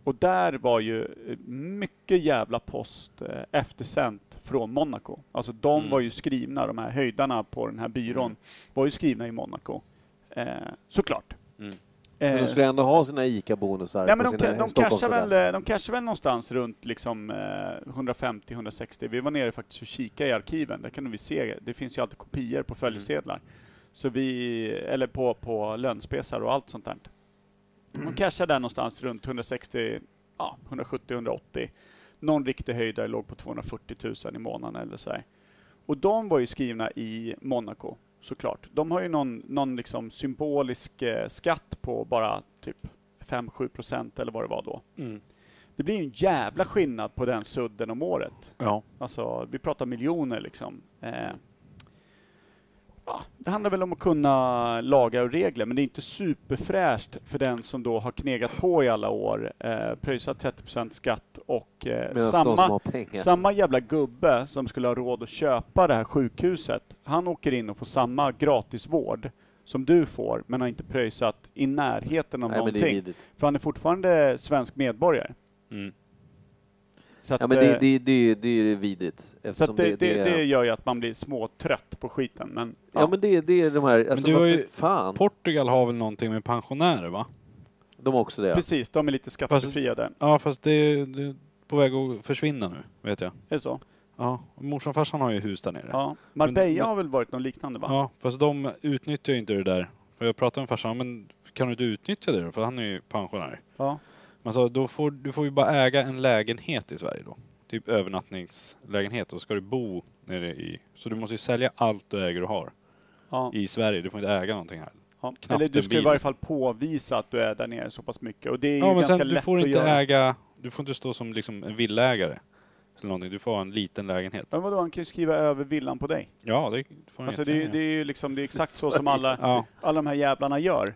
A: Och där var ju eh, mycket jävla post eh, eftersänt från Monaco. Alltså de
C: Mm.
A: var ju skrivna, de här höjdarna på den här byrån,
C: Mm.
A: var ju skrivna i Monaco. Eh, såklart.
C: Mm.
B: Men de
A: Eh,
B: skulle ändå ha sina ICA-bonusar
A: Nej,
B: på
A: men de,
B: sina
A: de, de,
B: Stockholmsadress.
A: cashar väl, eh, de cashar väl någonstans runt liksom, eh, 150-160. Vi var nere faktiskt och kikade i arkiven, där kan vi se, det finns ju alltid kopior på följesedlar. Så vi, eller på, på lönspesar och allt sånt där. De cashar där någonstans runt 160, ja, 170-180. Någon riktig höjdare låg på 240 000 i månaden eller så här. Och de var ju skrivna i Monaco, såklart. De har ju någon, någon liksom symbolisk eh, skatt på bara typ 5-7 procent eller vad det var då. Det blir ju en jävla skillnad på den sudden om året.
C: Ja.
A: Alltså, vi pratar miljoner liksom. Eh, ja, det handlar väl om att kunna lagar och regler, men det är inte superfräscht för den som då har knegat på i alla år, eh, pröjsat 30 procent skatt och eh,
B: Medan de
A: samma
B: som har pengar.
A: samma jävla gubbe som skulle ha råd att köpa det här sjukhuset, han åker in och får samma gratisvård som du får, men har inte pröjsat i närheten av
B: Nej, men det är
A: någonting.
B: vidrigt.
A: För han är fortfarande svensk medborgare.
C: Mm.
A: Så att,
B: Ja, men
A: eh,
B: det, det, det, det är ju vidrigt.
A: så
B: Eftersom
A: att det, det, det
B: är...
A: gör ju att man blir småtrött på skiten. Men,
B: Ja, men det, det är de här... Alltså,
C: du har
B: vad
C: ju-
B: fan.
C: Portugal har väl någonting med pensionärer va?
B: De har också det.
A: precis, de är lite skattebefriade.
C: Ja fast det är, det är på väg att försvinna nu, vet jag.
A: Är det så?
C: Ja, morsan och farsan har ju hus där nere.
A: Ja.
C: Men-
A: Marbella
C: men-
A: har väl varit något liknande va?
C: Ja, fast de utnyttjar ju inte det där. För jag pratade med farsan, men kan du inte utnyttja det då? För han är ju pensionär.
A: Ja.
C: Men så, då får, du får ju bara äga en lägenhet i Sverige då. Typ övernattningslägenhet. Och ska du bo nere i... Så du måste ju sälja allt du äger och har
A: Ja.
C: i Sverige. Du får inte äga någonting här.
A: Ja.
C: knappt
A: Eller du
C: en
A: ska i
C: bil.
A: varje fall påvisa att du är där nere så pass mycket. Och det är ju
C: Ja, men
A: ganska
C: sen du
A: lätt
C: får
A: att
C: inte
A: göra.
C: äga... Du får inte stå som liksom en villaägare. Eller någonting. Du får ha en liten lägenhet.
A: Men vadå, han kan ju skriva över villan på dig.
C: Ja, det får han
A: Alltså det, är ju-
C: jättegärna
A: det
C: göra.
A: är ju liksom, det är exakt så som alla,
C: Ja.
A: alla de här jävlarna gör.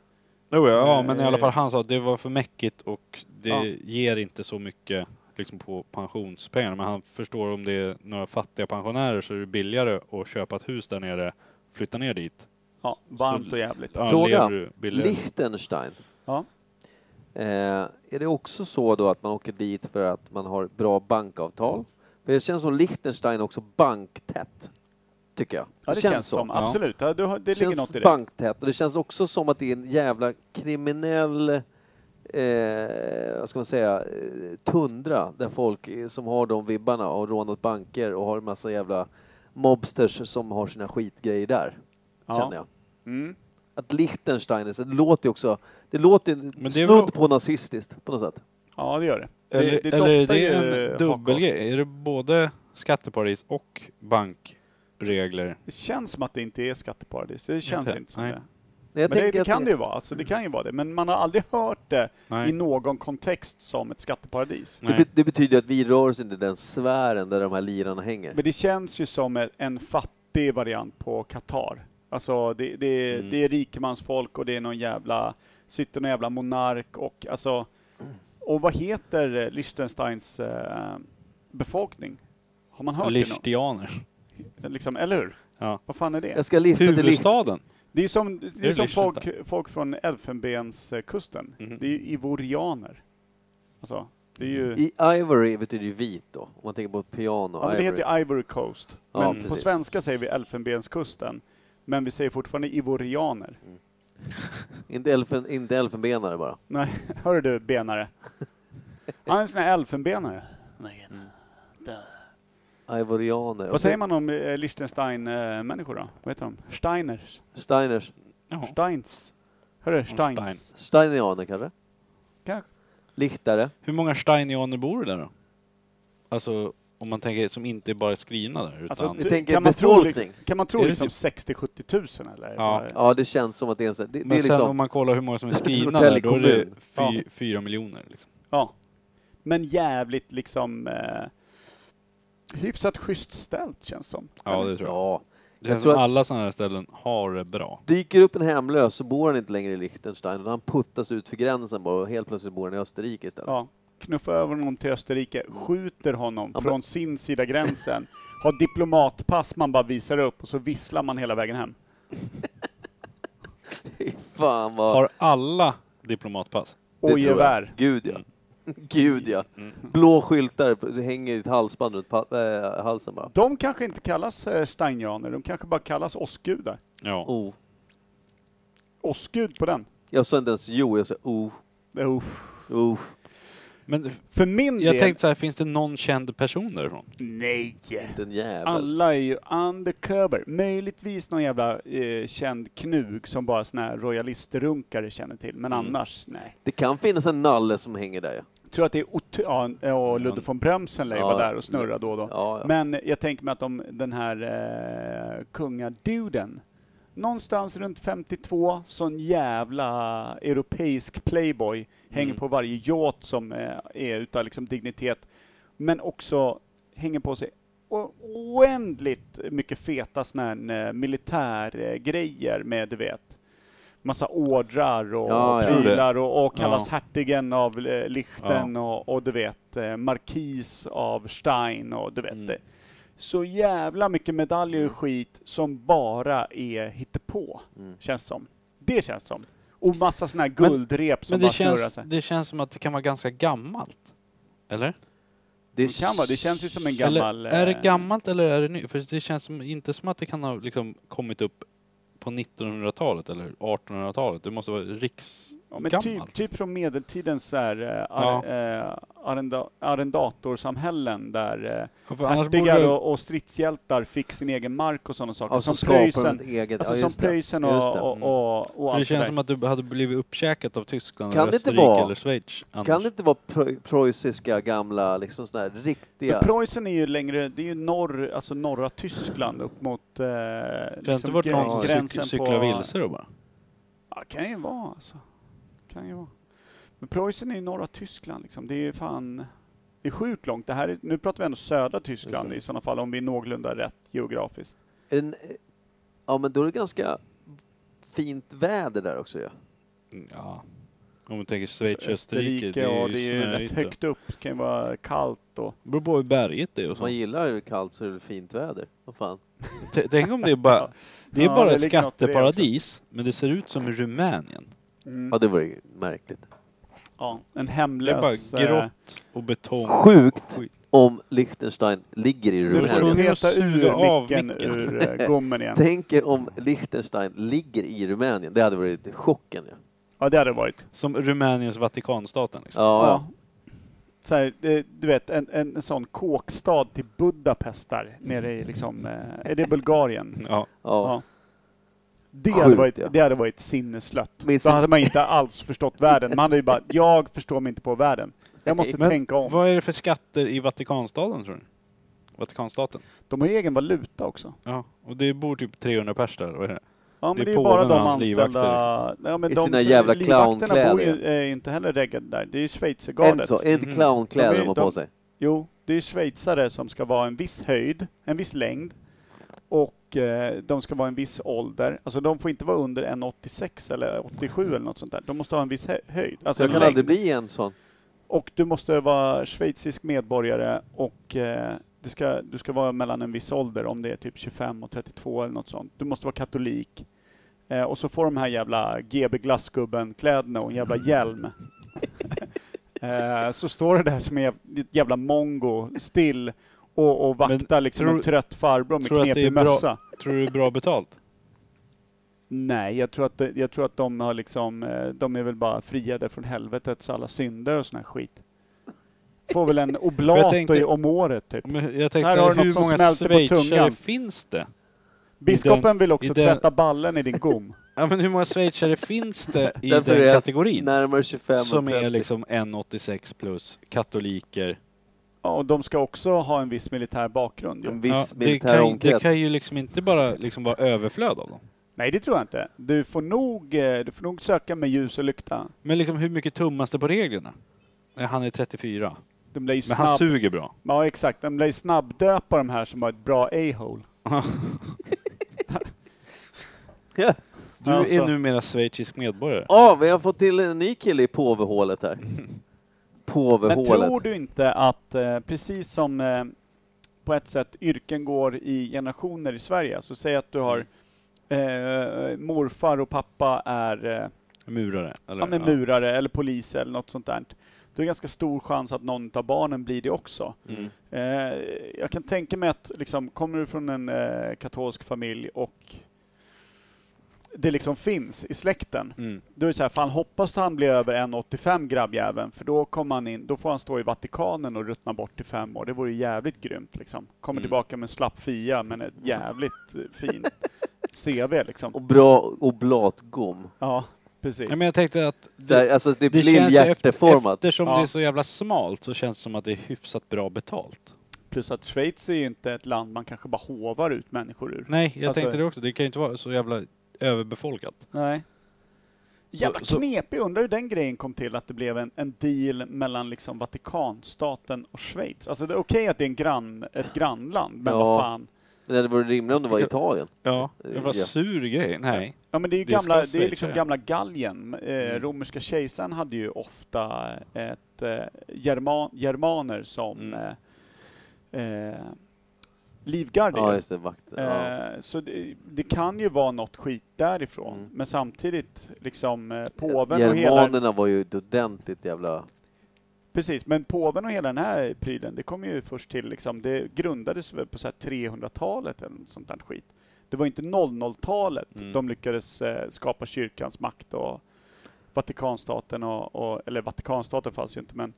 C: Jo, ja, ja,
A: Eh,
C: men i alla fall han sa att det var för mäckigt och det
A: Ja.
C: ger inte så mycket liksom, på pensionspengarna. Men han förstår om det är några fattiga pensionärer så är det billigare att köpa ett hus där nere, flytta ner dit.
A: Ja, varmt
C: Så-
A: och jävligt.
C: Ja,
B: Fråga.
C: lever du billigare.
B: Liechtenstein.
A: Ja.
B: Eh, är det också så då att man åker dit för att man har bra bankavtal? För det känns som Liechtenstein är också banktätt. Tycker jag.
A: Ja, det känns, som.
C: Ja.
A: Absolut. Ja, du har, det
B: Det
A: ligger
B: känns
A: något i det.
B: banktätt och det känns också som att det är en jävla kriminell eh, vad ska man säga, eh, tundra där folk eh, som har de vibbarna och rånat banker och har en massa jävla mobsters som har sina skitgrejer där.
A: Ja.
B: Känner jag.
A: Mm.
B: Att Liechtenstein, är så- det låter ju också, det låter
C: det är
B: ju
C: väl-
B: snudd på nazistiskt på något sätt.
A: Ja, det gör det.
C: Eller,
A: det, det
C: eller är
A: doftar
C: det
A: ju
C: en
A: hakkors.
C: dubbelgrej? Är det både skatteparadis och bankregler?
A: Det känns som att det inte är skatteparadis. Det känns
C: Inte?
A: inte som
C: Nej.
A: det.
B: Nej, jag
A: Men det,
B: tänker
A: det
B: att Mm.
A: kan det ju vara. Alltså, det kan ju vara det. Men man har aldrig hört det i
C: Nej.
A: någon kontext som ett skatteparadis.
B: det,
C: Nej.
B: be- det betyder att vi rör oss inte i den sfären där de här lirarna hänger.
A: Men det känns ju som en- en fattig variant på Qatar. Alltså det, det,
C: Mm.
A: det är rikemansfolk och det är någon jävla, sitter någon jävla monark och alltså,
B: Mm.
A: och vad heter eh, Liechtensteins eh, befolkning? Har man hört det
C: Lichtianer.
A: någon? Liksom, eller hur?
C: Ja.
A: Vad fan är det?
B: Jag ska lyfta till Liechtenstein.
C: Huvudstaden?
A: Det är som, det är
C: det
A: som
C: Liechtenstein?
A: folk, folk från Elfenbenskusten.
C: Mhm.
A: Det är ju ivorianer. Alltså, det är ju...
B: I Ivory betyder ju vit då, om man tänker på ett piano.
A: Ja, men det
B: Ivory.
A: heter ju Ivory Coast.
B: Ja,
A: Men på
B: precis.
A: svenska säger vi Elfenbenskusten. Men vi säger fortfarande ivorianer.
B: Inte, elfen, inte elfenbenare bara.
A: Nej, hör du benare. Han är en sån här elfenbenare.
B: Ivorianer.
A: Vad säger man om eh, Liechtenstein-människor då? Vad heter de? Steiners?
B: Steiners.
C: Ja.
A: Steins? Hörru,
C: Stein.
A: Steins.
B: Steinianer kanske?
A: Kanske.
B: Lichtare.
C: Hur många Steinianer bor det där då? Alltså, om man tänker som inte bara är skrivna där utan...
A: Alltså,
B: Vi
A: Du,
B: tänker
A: kan man tro
B: befolkning.
A: Kan man
C: Är
A: tro
C: det
A: liksom
C: typ-
A: 60-70 000 eller?
C: Ja.
A: Eller-
B: Ja, det känns som att det är en sån... Det, det
C: Men
B: är
C: sen om
B: liksom...
C: man kollar hur många som är skrivna
B: Norrtälje
C: där, då är det
B: kommun.
C: fy, fyra miljoner. Liksom.
A: ja. Men jävligt liksom eh, hyfsat schysst ställt känns som.
C: Ja, det tror jag.
B: Ja.
C: Det
B: Jag
C: känns
B: tror
C: som
B: att-
C: alla sådana här ställen har det bra.
B: Dyker upp en hemlös så bor han inte längre i Liechtenstein. utan Han puttas ut för gränsen bara och helt plötsligt bor han i Österrike istället.
A: Ja. Knuffa över honom till Österrike, skjuter honom
B: Ja, men-
A: från sin sida gränsen, har diplomatpass man bara visar upp och så visslar man hela vägen hem.
B: Fy Fan vad...
C: Har alla diplomatpass?
B: det
A: Och
B: tror jag.
A: gevär.
B: Gud
C: Mm.
B: ja. Gud ja. Blå skyltar på- det hänger i ett halsband runt pa- äh, halsen bara.
A: De kanske inte kallas eh, steinianer, de kanske bara kallas åskgudar.
C: Ja.
B: Oh.
A: Åskgud på den.
B: Jag sa inte ens jo, jag sa oh.
A: Eh,
B: oh.
C: Men
A: För min
C: jag
A: del,
C: tänkte så här, finns det någon känd person därifrån?
A: nej.
B: Den jäveln.
A: Alla är ju undercover. Möjligtvis någon jävla eh, känd knug som bara såna här royalistrunkare känner till, men
C: Mm.
A: annars nej.
B: Det kan finnas en nalle som hänger där ja.
A: Jag tror att det är Ot- ja, ja, Ludde von Brömsen lär ju
B: Ja.
A: vara där och snurra då och då.
B: ja, ja.
A: Men jag tänker mig att de, den här eh, kungaduden, någonstans runt 52, sån jävla europeisk playboy, hänger
B: Mm.
A: på varje yacht som eh, är utav liksom dignitet, men också hänger på sig o- oändligt mycket feta såna här eh, militärgrejer med, du vet, massa ordrar och
B: Ja, ja.
A: prylar och, och kallas
C: Ja.
A: hertigen av eh, Lichten och, och du vet, eh, markis av Stein och du vet
C: Mm.
A: det. Så jävla mycket medaljer och skit som bara är hittepå,
B: Mm.
A: känns som. Det känns som. Och massa såna här guldrep som
C: Men
A: bara
C: det
A: snurrar
C: känns,
A: sig.
C: det känns som att det kan vara ganska gammalt. Eller?
A: Det kan vara, det känns ju som en gammal...
C: eller är det
A: eh,
C: gammalt eller är det nytt? För det känns som, inte som att det kan ha liksom kommit upp på 1900-talet eller 1800-talet. Det måste vara riks...
A: Ja, men
C: Gammalt.
A: typ, typ från medeltidens så här, eh,
C: Ja.
A: ar, eh, arrenda, arrendatorsamhällen där
C: Ja, för
A: eh,
C: annars borde
A: hertigar
C: det-
A: och, och stridshjältar fick sin egen mark och sådana saker.
B: Ja, så
A: som
B: skapar de
A: Preussen,
B: ett eget...
A: alltså
B: ja,
A: som
B: just det.
A: Preussen
B: Just det.
A: och, och, och, och
C: Mm. För det
A: allt det
C: känns
A: där.
C: som att du hade blivit uppkäkat av Tyskland,
B: Kan det
C: kan
B: inte
C: Österrike
B: vara-
C: eller Schweiz. Annars.
B: Kan det inte vara preu- preussiska gamla, liksom sådana här riktiga...
A: Men Preussen är ju längre, det är ju norr, alltså norra Tyskland upp mot eh,
C: Kan det inte varit
A: gräns-
C: någon som cyk- cyklar vilse då bara?
A: Ja, kan ju vara alltså. Kan ju vara. Men Preussen är ju norra Tyskland liksom. Det är ju fan... Det är sjukt långt. Det här är, nu pratar vi ändå södra Tyskland
B: Precis.
A: i sådana fall om vi är någorlunda rätt geografiskt.
B: En, eh, ja, men då är det ganska fint väder där också ju. Ja.
C: Ja. Om man tänker Schweiz,
A: Så
C: Österrike, det
A: Alltså, ja,
C: är
A: det är ju
C: ju
A: rätt
C: snöigt.
A: högt upp. Det kan ju vara kallt och...
C: Det beror på hur berget det är och
B: man
C: så.
B: gillar det kallt så är det fint väder. Vad fan.
A: Mm.
C: T- Tänk om det är bara, det är
A: Ja,
C: bara
A: det
C: ett
A: ligger något i det
C: skatteparadis, men det ser ut som i Rumänien.
B: Ja, det var ju
A: Mm.
B: märkligt.
A: Ja, en
C: Det är
A: hemlös...
C: bara
A: eh,
C: grått och betong.
B: Sjukt
C: Skit.
B: om Liechtenstein ligger i
A: Nu får du
B: Rumänien.
C: tvungen att
A: peta
C: suga
A: ur
C: av
A: micken
C: micken.
A: ur eh, gommen igen.
B: Tänker om Liechtenstein ligger i Rumänien. Det hade varit chocken ju. Ja.
A: Ja, det hade det varit.
C: Som Rumäniens Vatikanstaten liksom.
B: Ja,
A: Ja. Så här, det, du vet, en, en, en sån kåkstad till Budapest där nere i liksom... eh, Är det Bulgarien?
C: Ja.
B: ja.
A: Ja. Det
B: Sjukt,
A: hade, varit,
B: ja.
A: det hade varit sinnesslött.
B: Men
A: Då
B: sen-
A: hade man inte alls förstått världen. Man hade ju bara, jag förstår mig inte på världen. Jag måste
C: Men
A: tänka om.
C: Vad är det för skatter i Vatikanstaden tror du? Vatikanstaten?
A: De har ju egen valuta också.
C: Ja. Och det bor typ 300 pers där, vad är det?
A: Ja, men
C: Det
A: det
C: är
A: är ju bara
C: påven och
A: de
C: hans livvakter, liksom.
A: anställda... Ja, men
B: I
A: de
B: sina
A: som-
B: jävla
A: livvakterna bor ju
B: clownnkläder.
A: eh, inte heller reggade där. Det är ju
B: Är det inte
A: schweizergardet.
B: så? Är det inte
C: Mhm.
A: De
B: clownkläder
A: är-
B: de har på
A: de-
B: sig?
A: Jo, det är schweizare som ska vara en viss höjd, en viss längd och eh, de ska vara en viss ålder. Alltså de får inte vara under 1,86 eller 87 eller något sånt där. De måste ha en viss hö- höjd. Alltså
B: Jag
A: en
B: kan
A: längd.
B: aldrig bli en sån.
A: Och du måste vara schweizisk medborgare och eh, det ska, du ska vara mellan en viss ålder, om det är typ 25 och 32 eller något sånt. Du måste vara katolik. Eh, och så får de här jävla GB Glassgubben-kläderna och en jävla hjälm. eh, så står det där som en jäv- ett jävla mongo still och, och vaktar liksom
C: tror-
A: en trött farbror med
C: tror du att det är
A: knepig
C: bra-
A: mössa.
C: Tror du det är bra betalt?
A: Nej, jag tror, att, det- jag tror att de har liksom, eh, de är väl bara friade från helvetets alla synder och sån här skit. Får väl en oblat
C: tänkte-
A: i- om året typ.
C: Men jag tänkte
A: Här
C: så
A: har du
C: hur
A: något som
C: många
A: smälter på
C: schweizare
A: tungan.
C: finns det?
A: Biskopen vill
C: i
A: också
C: den-
A: tvätta ballen i din gom.
C: Ja men hur många schweizare finns det i
B: Därför är
C: den
B: jag
C: kategorin?
B: Närmare 25 och
C: Som är
B: 30.
C: liksom 1,86 plus, katoliker.
A: Ja, och de ska också ha en viss militär bakgrund.
B: En
A: Ju.
B: viss
C: Ja, det,
B: militär
C: kan, ju- det
B: omkrets.
C: kan ju liksom inte bara liksom vara överflöd av dem.
A: Nej, det tror jag inte. Du får nog, eh, du får nog söka med ljus och lykta.
C: Men liksom hur mycket tummas det på reglerna? Nej, Han är 34.
A: De blir ju
C: Men han
A: snabb...
C: suger bra.
A: Ja, exakt. De blir ju snabbdöpa de här som har ett bra a-hole.
B: Ja.
C: Du
A: Alltså.
C: är numera schweizisk medborgare.
B: Ja, vi har fått till en ny kille i påvehålet här.
A: Men
B: Påvehålet.
A: tror du inte att, eh, precis som eh, på ett sätt yrken går i generationer i Sverige, så säg att du har eh, morfar och pappa är eh,
C: Murare. Eller?
A: ja, men murare eller polis eller något sånt där. Då är det ganska stor chans att någon av barnen blir det också.
C: Mm.
A: Eh, jag kan tänka mig att liksom, kommer du från en eh, katolsk familj och det liksom finns i släkten,
C: Mm.
A: då är det så här, fan hoppas att han blir över 1,85 grabbjäveln, för då, kommer han in, då får han stå i Vatikanen och ruttna bort i fem år. Det vore ju jävligt grymt liksom. Kommer
C: Mm.
A: tillbaka med en slapp fia, men ett jävligt eh, fint CV liksom.
B: Och bra oblatgom.
A: Ja, precis.
C: Ja, men jag tänkte att
B: Så här, alltså typ
C: det känns ju efter,
B: lilljärteformat.
C: eftersom
A: Ja.
C: det är så jävla smalt så känns det som att det är hyfsat bra betalt.
A: Plus att Schweiz är ju inte ett land man kanske bara hovar ut människor ur.
C: Nej, jag
A: Alltså-
C: tänkte det också. Det kan ju inte vara så jävla överbefolkat.
A: Nej. Jävla
C: Så- så-
A: knepig, undrar hur den grejen kom till att det blev en, en deal mellan liksom Vatikanstaten och Schweiz. Alltså det är okej att det är en grann, ett grannland, men
B: Ja.
A: vad fan.
B: Men det vore rimligt om det var Italien.
C: Ja, jävla
B: Ja.
C: sur grej. Nej.
A: Ja men det är ju
C: Det ska Mm.
A: gamla, det är
C: Schweiz
A: liksom
C: göra.
A: gamla Gallien. Eh, Romerska kejsaren hade ju ofta ett eh, german, germaner som
C: Mm.
A: eh, eh, livgarde.
B: Ja,
A: ju.
B: just det. Vakten. Ja.
A: Eh, Så det, det kan ju vara något skit därifrån,
B: Mm.
A: men samtidigt liksom eh, påven och hela...
B: Germanerna var ju ett ordentligt jävla...
A: Precis, men påven och hela den här prylen, det kom ju först till liksom, det grundades väl på så här 300-talet eller något sånt där skit. Det var inte 00-talet
C: Mm.
A: de lyckades eh, skapa kyrkans makt och Vatikanstaten och, och eller Vatikanstaten fanns ju inte men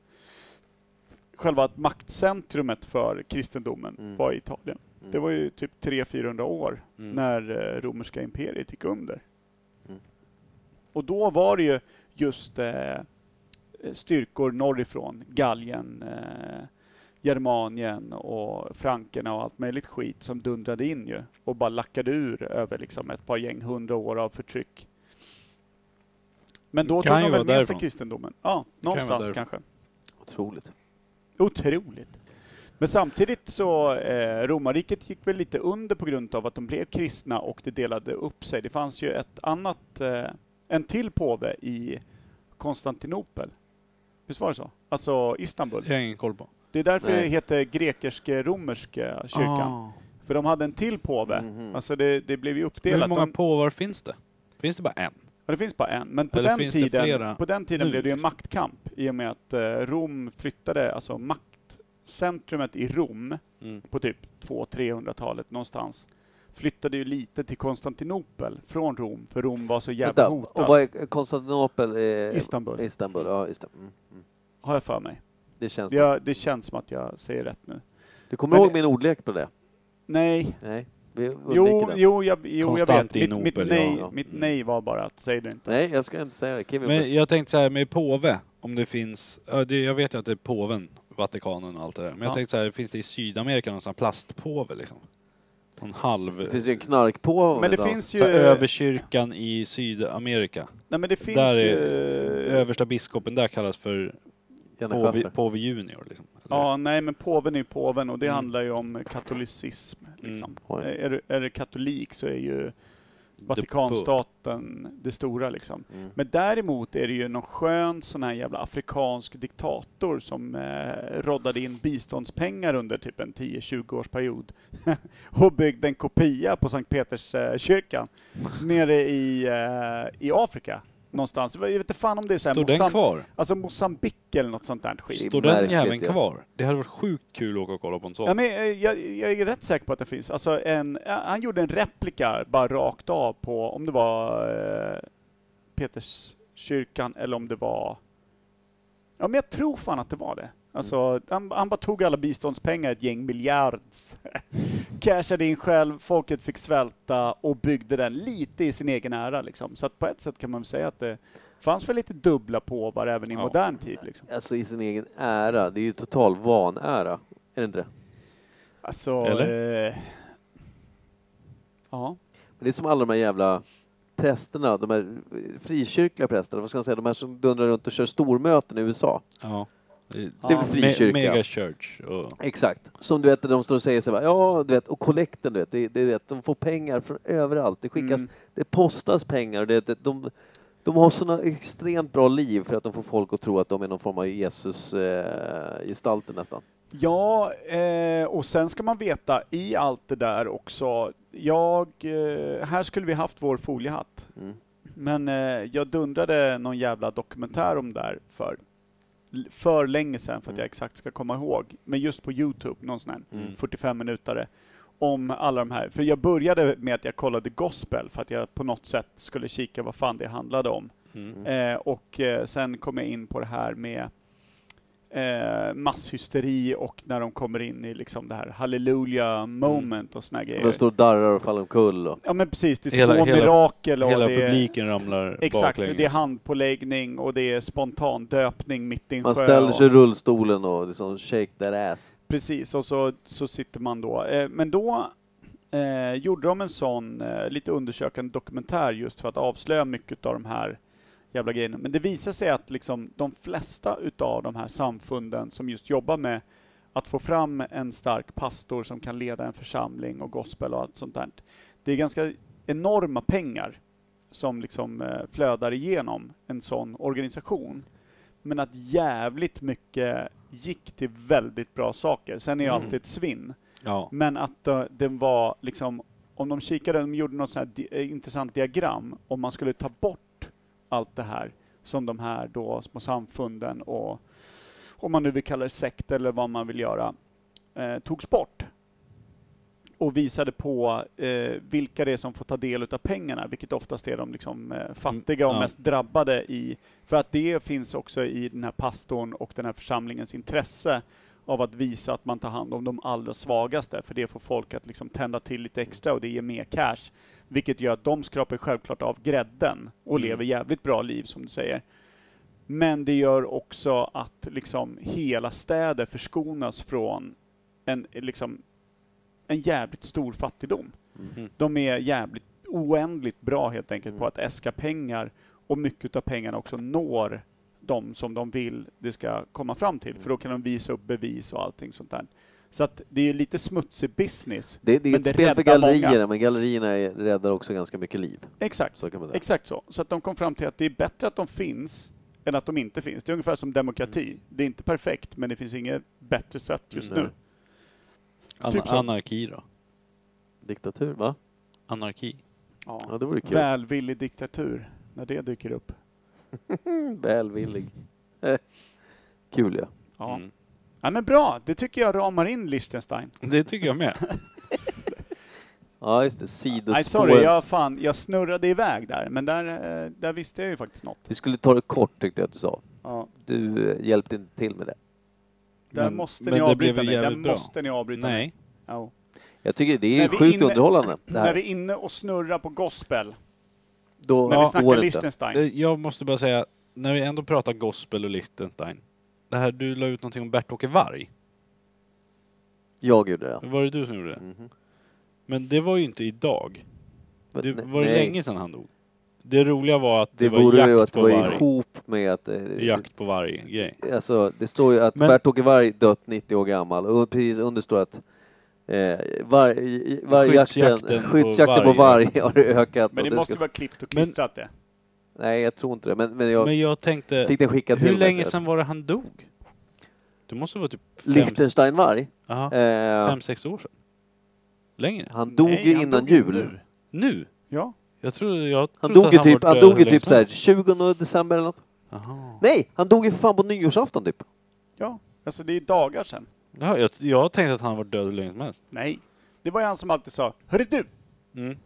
A: själva maktcentrumet för kristendomen
B: Mm.
A: var i Italien.
B: Mm.
A: Det var ju typ 300-400 år
C: Mm.
A: när eh, romerska imperiet gick under.
B: Mm.
A: Och då var det ju just eh, styrkor norrifrån, Gallien, eh, Germanien och frankerna och allt möjligt skit som dundrade in ju och bara lackade ur över liksom ett par gäng hundra år av förtryck. Men då
C: Det
A: tog
C: kan
A: de
C: ju
A: väl
C: vara
A: med sig
C: därifrån.
A: kristendomen. Ja,
C: kan ju vara
A: någonstans
C: därifrån.
A: kanske.
B: Otroligt.
A: Otroligt. Men samtidigt så, eh, romarriket gick väl lite under på grund av att de blev kristna och det delade upp sig. Det fanns ju ett annat, eh, en till påve i Konstantinopel. Visst var det så? Alltså Istanbul.
C: Det har jag ingen koll på.
A: Det är därför
B: Nej.
A: det heter eh, grekisk-romerska kyrkan.
B: Ah.
A: För de hade en till påve.
B: Mhm.
A: Alltså det, det blev ju uppdelat.
C: Ah. Mm. Hur många
A: de,
C: påvar finns det? Finns det bara en?
A: ja, det finns bara en. Men på
C: Eller
A: den,
C: finns det
A: tiden,
C: flera Mm.
A: på den tiden
C: nu?
A: blev det ju en maktkamp i och med att eh, Rom flyttade, alltså maktcentrumet i Rom på typ 200-300-talet någonstans flyttade ju lite till Konstantinopel från Rom, för Rom var så jävla
B: Vänta,
A: hotat.
B: och vad är Konstantinopel? Eh,
A: Istanbul.
B: Istanbul, ja just det. Mm. Mm.
A: Har jag för mig.
B: Det känns det.
A: Jag, det känns som att jag säger rätt nu.
B: Du kommer
A: Men
B: ihåg
A: det-
B: min ordlek på det?
A: Nej.
B: Nej, vi undviker
A: Jo,
B: den.
A: jo, jag, jo jag vet. Mitt, mitt,
C: Konstantinopel,
A: nej,
B: ja.
A: mitt
C: Mm.
A: nej var bara att säg det inte.
B: Nej, jag ska inte säga det. Kim
C: Men jag tänkte så här med påve, om det finns... ja, det- Jag vet ju att det är påven, Vatikanen och allt det där. Men
A: Ja.
C: jag tänkte så här, finns det i Sydamerika någon sån här plastpåve liksom? Någon halv...
B: det finns ju en knarkpåve
A: Men det
B: idag.
A: finns ju...
C: Så här, överkyrkan i Sydamerika.
A: nej, men det finns
C: där är-
A: ju...
B: Eh.
C: Översta biskopen där kallas för
B: Janne
C: påve,
B: Schaffer.
C: påve junior liksom. Eller?
A: Ja, nej men påven är ju påven och det
C: Mm.
A: handlar ju om katolicism. Liksom.
B: Oj.
A: Är, du- är du katolik så är ju
C: The
A: Vatikanstaten det stora liksom.
B: Mm.
A: Men däremot är det ju någon skön sån här jävla afrikansk diktator som eh, roddade in biståndspengar under typ en 10-20 års period och byggde en kopia på Sankt Peterskyrkan eh, kyrkan nere i, eh, i Afrika någonstans. Jag vet inte fan om det är så här
C: Står den
A: Mozamb-
C: kvar?
A: alltså Mozambique eller något sånt där skit.
B: är
C: Står den
B: märkligt,
C: jäveln
B: ja.
C: kvar? Det hade varit sjukt kul att åka och kolla på en sån.
A: Ja, men, eh, jag, jag är rätt säker på att det finns. Alltså en, ja, han gjorde en replika bara rakt av på om det var eh, Peterskyrkan eller om det var... Ja, men jag tror fan att det var det. Alltså, han, han bara tog alla biståndspengar, ett gäng miljards, cashade in själv, folket fick svälta och byggde den lite i sin egen ära. Liksom. Så att på ett sätt kan man väl säga att det fanns väl lite dubbla påvar även i
C: Ja.
A: modern tid. Liksom.
B: Alltså i sin egen ära. Det är ju total vanära. Är det inte det?
A: Alltså, Eh, ja.
B: Men det är som alla de här jävla prästerna, de här frikyrkliga prästerna, vad ska man säga, de här som dundrar runt och kör stormöten i USA.
C: Ja. Eh,
B: Det är väl frikyrka?
C: Mega Church. Och...
B: Exakt. Som du vet, de står och säger så här, ja, du vet, och kollekten, du vet, det, det, är rätt, de får pengar från överallt. Det skickas,
A: Mm.
B: det postas pengar och det, det, de, de har sådana extremt bra liv för att de får folk att tro att de är någon form av Jesus-gestalter nästan.
A: Ja, eh, och sen ska man veta i allt det där också. Jag, eh, här skulle vi haft vår foliehatt.
B: Mm.
A: Men eh, jag dundrade någon jävla dokumentär om det där för, för länge sedan för att jag exakt ska komma ihåg. Men just på Youtube, någon sån här
C: Mm.
A: 45 minutare om alla de här. För jag började med att jag kollade gospel för att jag på något sätt skulle kika vad fan det handlade om.
C: Mm.
A: Eh, och eh, sen kom jag in på det här med eh, masshysteri och när de kommer in i liksom det här halleluja moment och såna
B: Och
A: grejer.
B: de står och darrar och faller omkull. Och,
A: Ja men precis, det är
C: Hela-
A: små
C: hela-
A: mirakel och
C: Hela
A: det är,
C: publiken liksom. ramlar
A: Exakt,
C: baklänges.
A: det är handpåläggning och det är spontan döpning mitt i en
B: man
A: sjö.
B: ställer sig i
A: och,
B: rullstolen och liksom shake that ass.
A: precis, och så, så sitter man då. Eh, men då eh, gjorde de en sån eh, lite undersökande dokumentär just för att avslöja mycket av de här jävla grejerna. Men det visar sig att liksom de flesta utav de här samfunden som just jobbar med att få fram en stark pastor som kan leda en församling och gospel och allt sånt där. Det är ganska enorma pengar som liksom eh, flödar igenom en sån organisation. Men att jävligt mycket gick till väldigt bra saker. Sen är det
C: Mm.
A: alltid ett svinn.
C: Ja.
A: Men att eh, den var liksom, om de kikade, de gjorde något sånt här di- eh, intressant diagram, om man skulle ta bort allt det här som de här då små samfunden och om man nu vill kalla det sekt eller vad man vill göra, eh, togs bort. och visade på eh, vilka det är som får ta del av pengarna, vilket oftast är de liksom, eh, fattiga och
C: Mm, ja.
A: mest drabbade i... För att det finns också i den här pastorn och den här församlingens intresse av att visa att man tar hand om de allra svagaste, för det får folk att liksom tända till lite extra och det ger mer cash. Vilket gör att de skrapar självklart av grädden och
C: Mm.
A: lever jävligt bra liv, som du säger. Men det gör också att liksom hela städer förskonas från en, liksom, en jävligt stor fattigdom.
C: Mm.
A: De är jävligt oändligt bra helt enkelt på
B: Mm.
A: att äska pengar och mycket av pengarna också når de som de vill det ska komma fram till, för då kan de visa upp bevis och allting sånt där. Så att det är ju lite smutsig business.
B: Det, det är
A: Men
B: ett
A: det
B: spel för
A: räddar många.
B: gallerierna, men gallerierna är- räddar också ganska mycket liv.
A: Exakt.
B: Så kan man säga.
A: Exakt så. Så att de kom fram till att det är bättre att de finns än att de inte finns. Det är ungefär som demokrati. Det är inte perfekt, men det finns inget bättre sätt just
B: Mm,
A: nu.
B: nej.
C: An-
A: Typ så.
C: anarki då?
B: Diktatur, va?
C: Anarki?
B: Ja,
A: Ja.
B: det vore kul.
A: Välvillig diktatur, när det dyker upp.
B: Välvillig. kul ja.
A: Ja.
C: Mm.
A: ja, men bra. Det tycker jag ramar in Liechtenstein.
C: Det tycker jag med.
B: Ja, just det.
A: Nej,
B: Sidospårens...
A: sorry, jag, fan, jag snurrade iväg där, men där, eh, där visste jag ju faktiskt något.
B: Vi skulle ta det kort tyckte jag att du sa.
A: Ja.
B: Du eh, hjälpte inte till med det.
A: Där
C: Men-
A: måste
C: men
A: ni
C: det
A: avbryta
C: blev
A: mig. Där
C: jävligt bra.
A: måste ni avbryta mig.
C: Nej.
A: Ja.
B: Jag tycker det
A: När
B: är
A: vi
B: sjukt
A: inne-
B: underhållande. Det
A: När
B: här.
A: vi är inne och snurrar på gospel,
B: Då
A: när vi snackar
B: går det inte.
A: Liechtenstein.
C: Eh, Jag måste bara säga, när vi ändå pratar gospel och Liechtenstein. Det här, du la ut någonting om Bert-Åke Varg.
B: Jag gjorde det.
C: Var det du som gjorde det?
B: Mhm.
C: Men det var ju inte idag.
B: Men
C: Det
B: ne-
C: var det
B: nej.
C: länge sedan han dog. Det roliga var att det,
B: Det
C: var
B: vore ju
C: jakt
B: att det
C: på
B: var
C: varg.
B: ihop med att... eh,
C: Jakt på varg grej.
B: Alltså, det står ju att
C: Men-
B: Bert-Åke Varg dött 90 år gammal och precis understår att eh, var, i- vargjakten,
C: Skyddsjakten på
B: skyddsjakten på
C: varg.
B: varg har ökat.
A: Men
B: och
A: det måste
B: ska-
A: vara klippt och klistrat det.
B: Nej, jag tror inte det. Men, men jag
C: Men jag tänkte,
B: fick den skickad till
C: hur
B: mig.
C: länge
B: så
C: sedan var det han dog? Det måste vara typ
B: att-
C: fem,
B: Liechtenstein-varg?
C: aha,
B: Eh,
C: fem sex år sedan. Längre?
B: han dog
A: Nej,
B: ju
A: han
B: innan
A: dog
B: jul.
A: nu.
C: Nu?
A: Ja.
C: Jag trodde, jag
B: Han
C: trodde
B: dog ju
C: att han
B: typ,
C: var
B: han
C: död
B: dog ju
C: hur länge
B: typ
C: som
B: såhär
C: helst.
B: 20 december eller något.
C: Jaha.
B: Nej, han dog ju för fan på nyårsafton typ.
A: ja, alltså det är dagar sedan.
C: Ja, jag, jag tänkte att han var död hur länge som helst.
A: Nej. Det var ju han som alltid sa Hörru du!
B: Mm.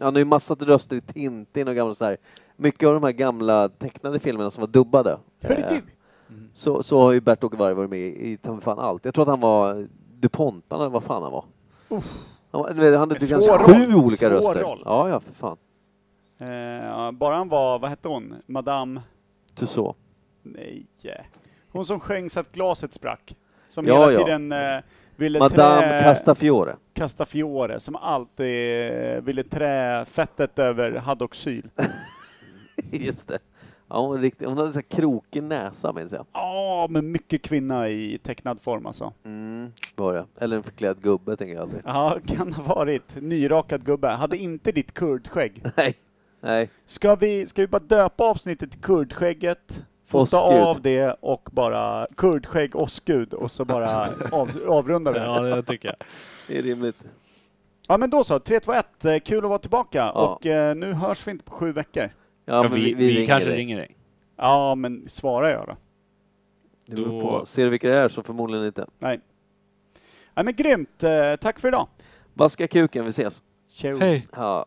B: Han har ju massa röster i Tintin och gamla så här. Mycket av de här gamla tecknade filmerna som var dubbade.
A: Hörru
B: eh,
A: du!
B: så, så har ju Bert-Åke Varg varit med i i ta mig fan allt. Jag tror att han var DuPont, eller vad fan han var. Han, var- du vet, han hade
A: Men
B: typ
A: svår
B: ganska
A: roll.
B: sju olika
A: Svår
B: röster.
A: roll.
B: Ja, ja, för fan.
A: Eh, bara han var, vad hette hon? Madame...
B: Du så.
A: Nej. eh, Hon som sjöng så att glaset sprack. Som
B: Ja,
A: hela
B: ja.
A: tiden eh, ville
B: Madame
A: trä...
B: Castafiore.
A: Kasta Fiore, som alltid eh, ville trä fettet över Haddocksyl.
B: Just det. Ja, hon, riktigt, hon hade så här krokig näsa minns jag.
A: Ja, men mycket kvinna i tecknad form alltså.
B: Mm, var det. Eller en förklädd gubbe tänker jag aldrig.
A: Ja, kan ha varit. Nyrakad gubbe. Hade inte ditt kurdskägg.
B: Nej. Nej.
A: Ska vi, ska vi bara döpa avsnittet till kurdskägget? Fota
B: Åskgud.
A: av det och bara kurdskägg, åskgud och så bara av, avrunda det.
C: Ja, det tycker jag.
B: Det är rimligt.
A: Ja men då så, 3, 2, 1. Eh, Kul att vara tillbaka
B: Ja.
A: och eh, nu hörs vi inte på sju veckor.
B: Ja,
C: Ja,
B: men
C: vi, vi, kanske
B: dig.
C: ringer dig.
A: Ja men svara jag då.
B: Det beror
C: Då-
B: på. Ser du vilka det är så förmodligen inte.
A: Nej. Ja men grymt, Eh, tack för idag.
B: Vaska kuken, vi ses.
A: Ciao.
C: Hej!
B: Ja.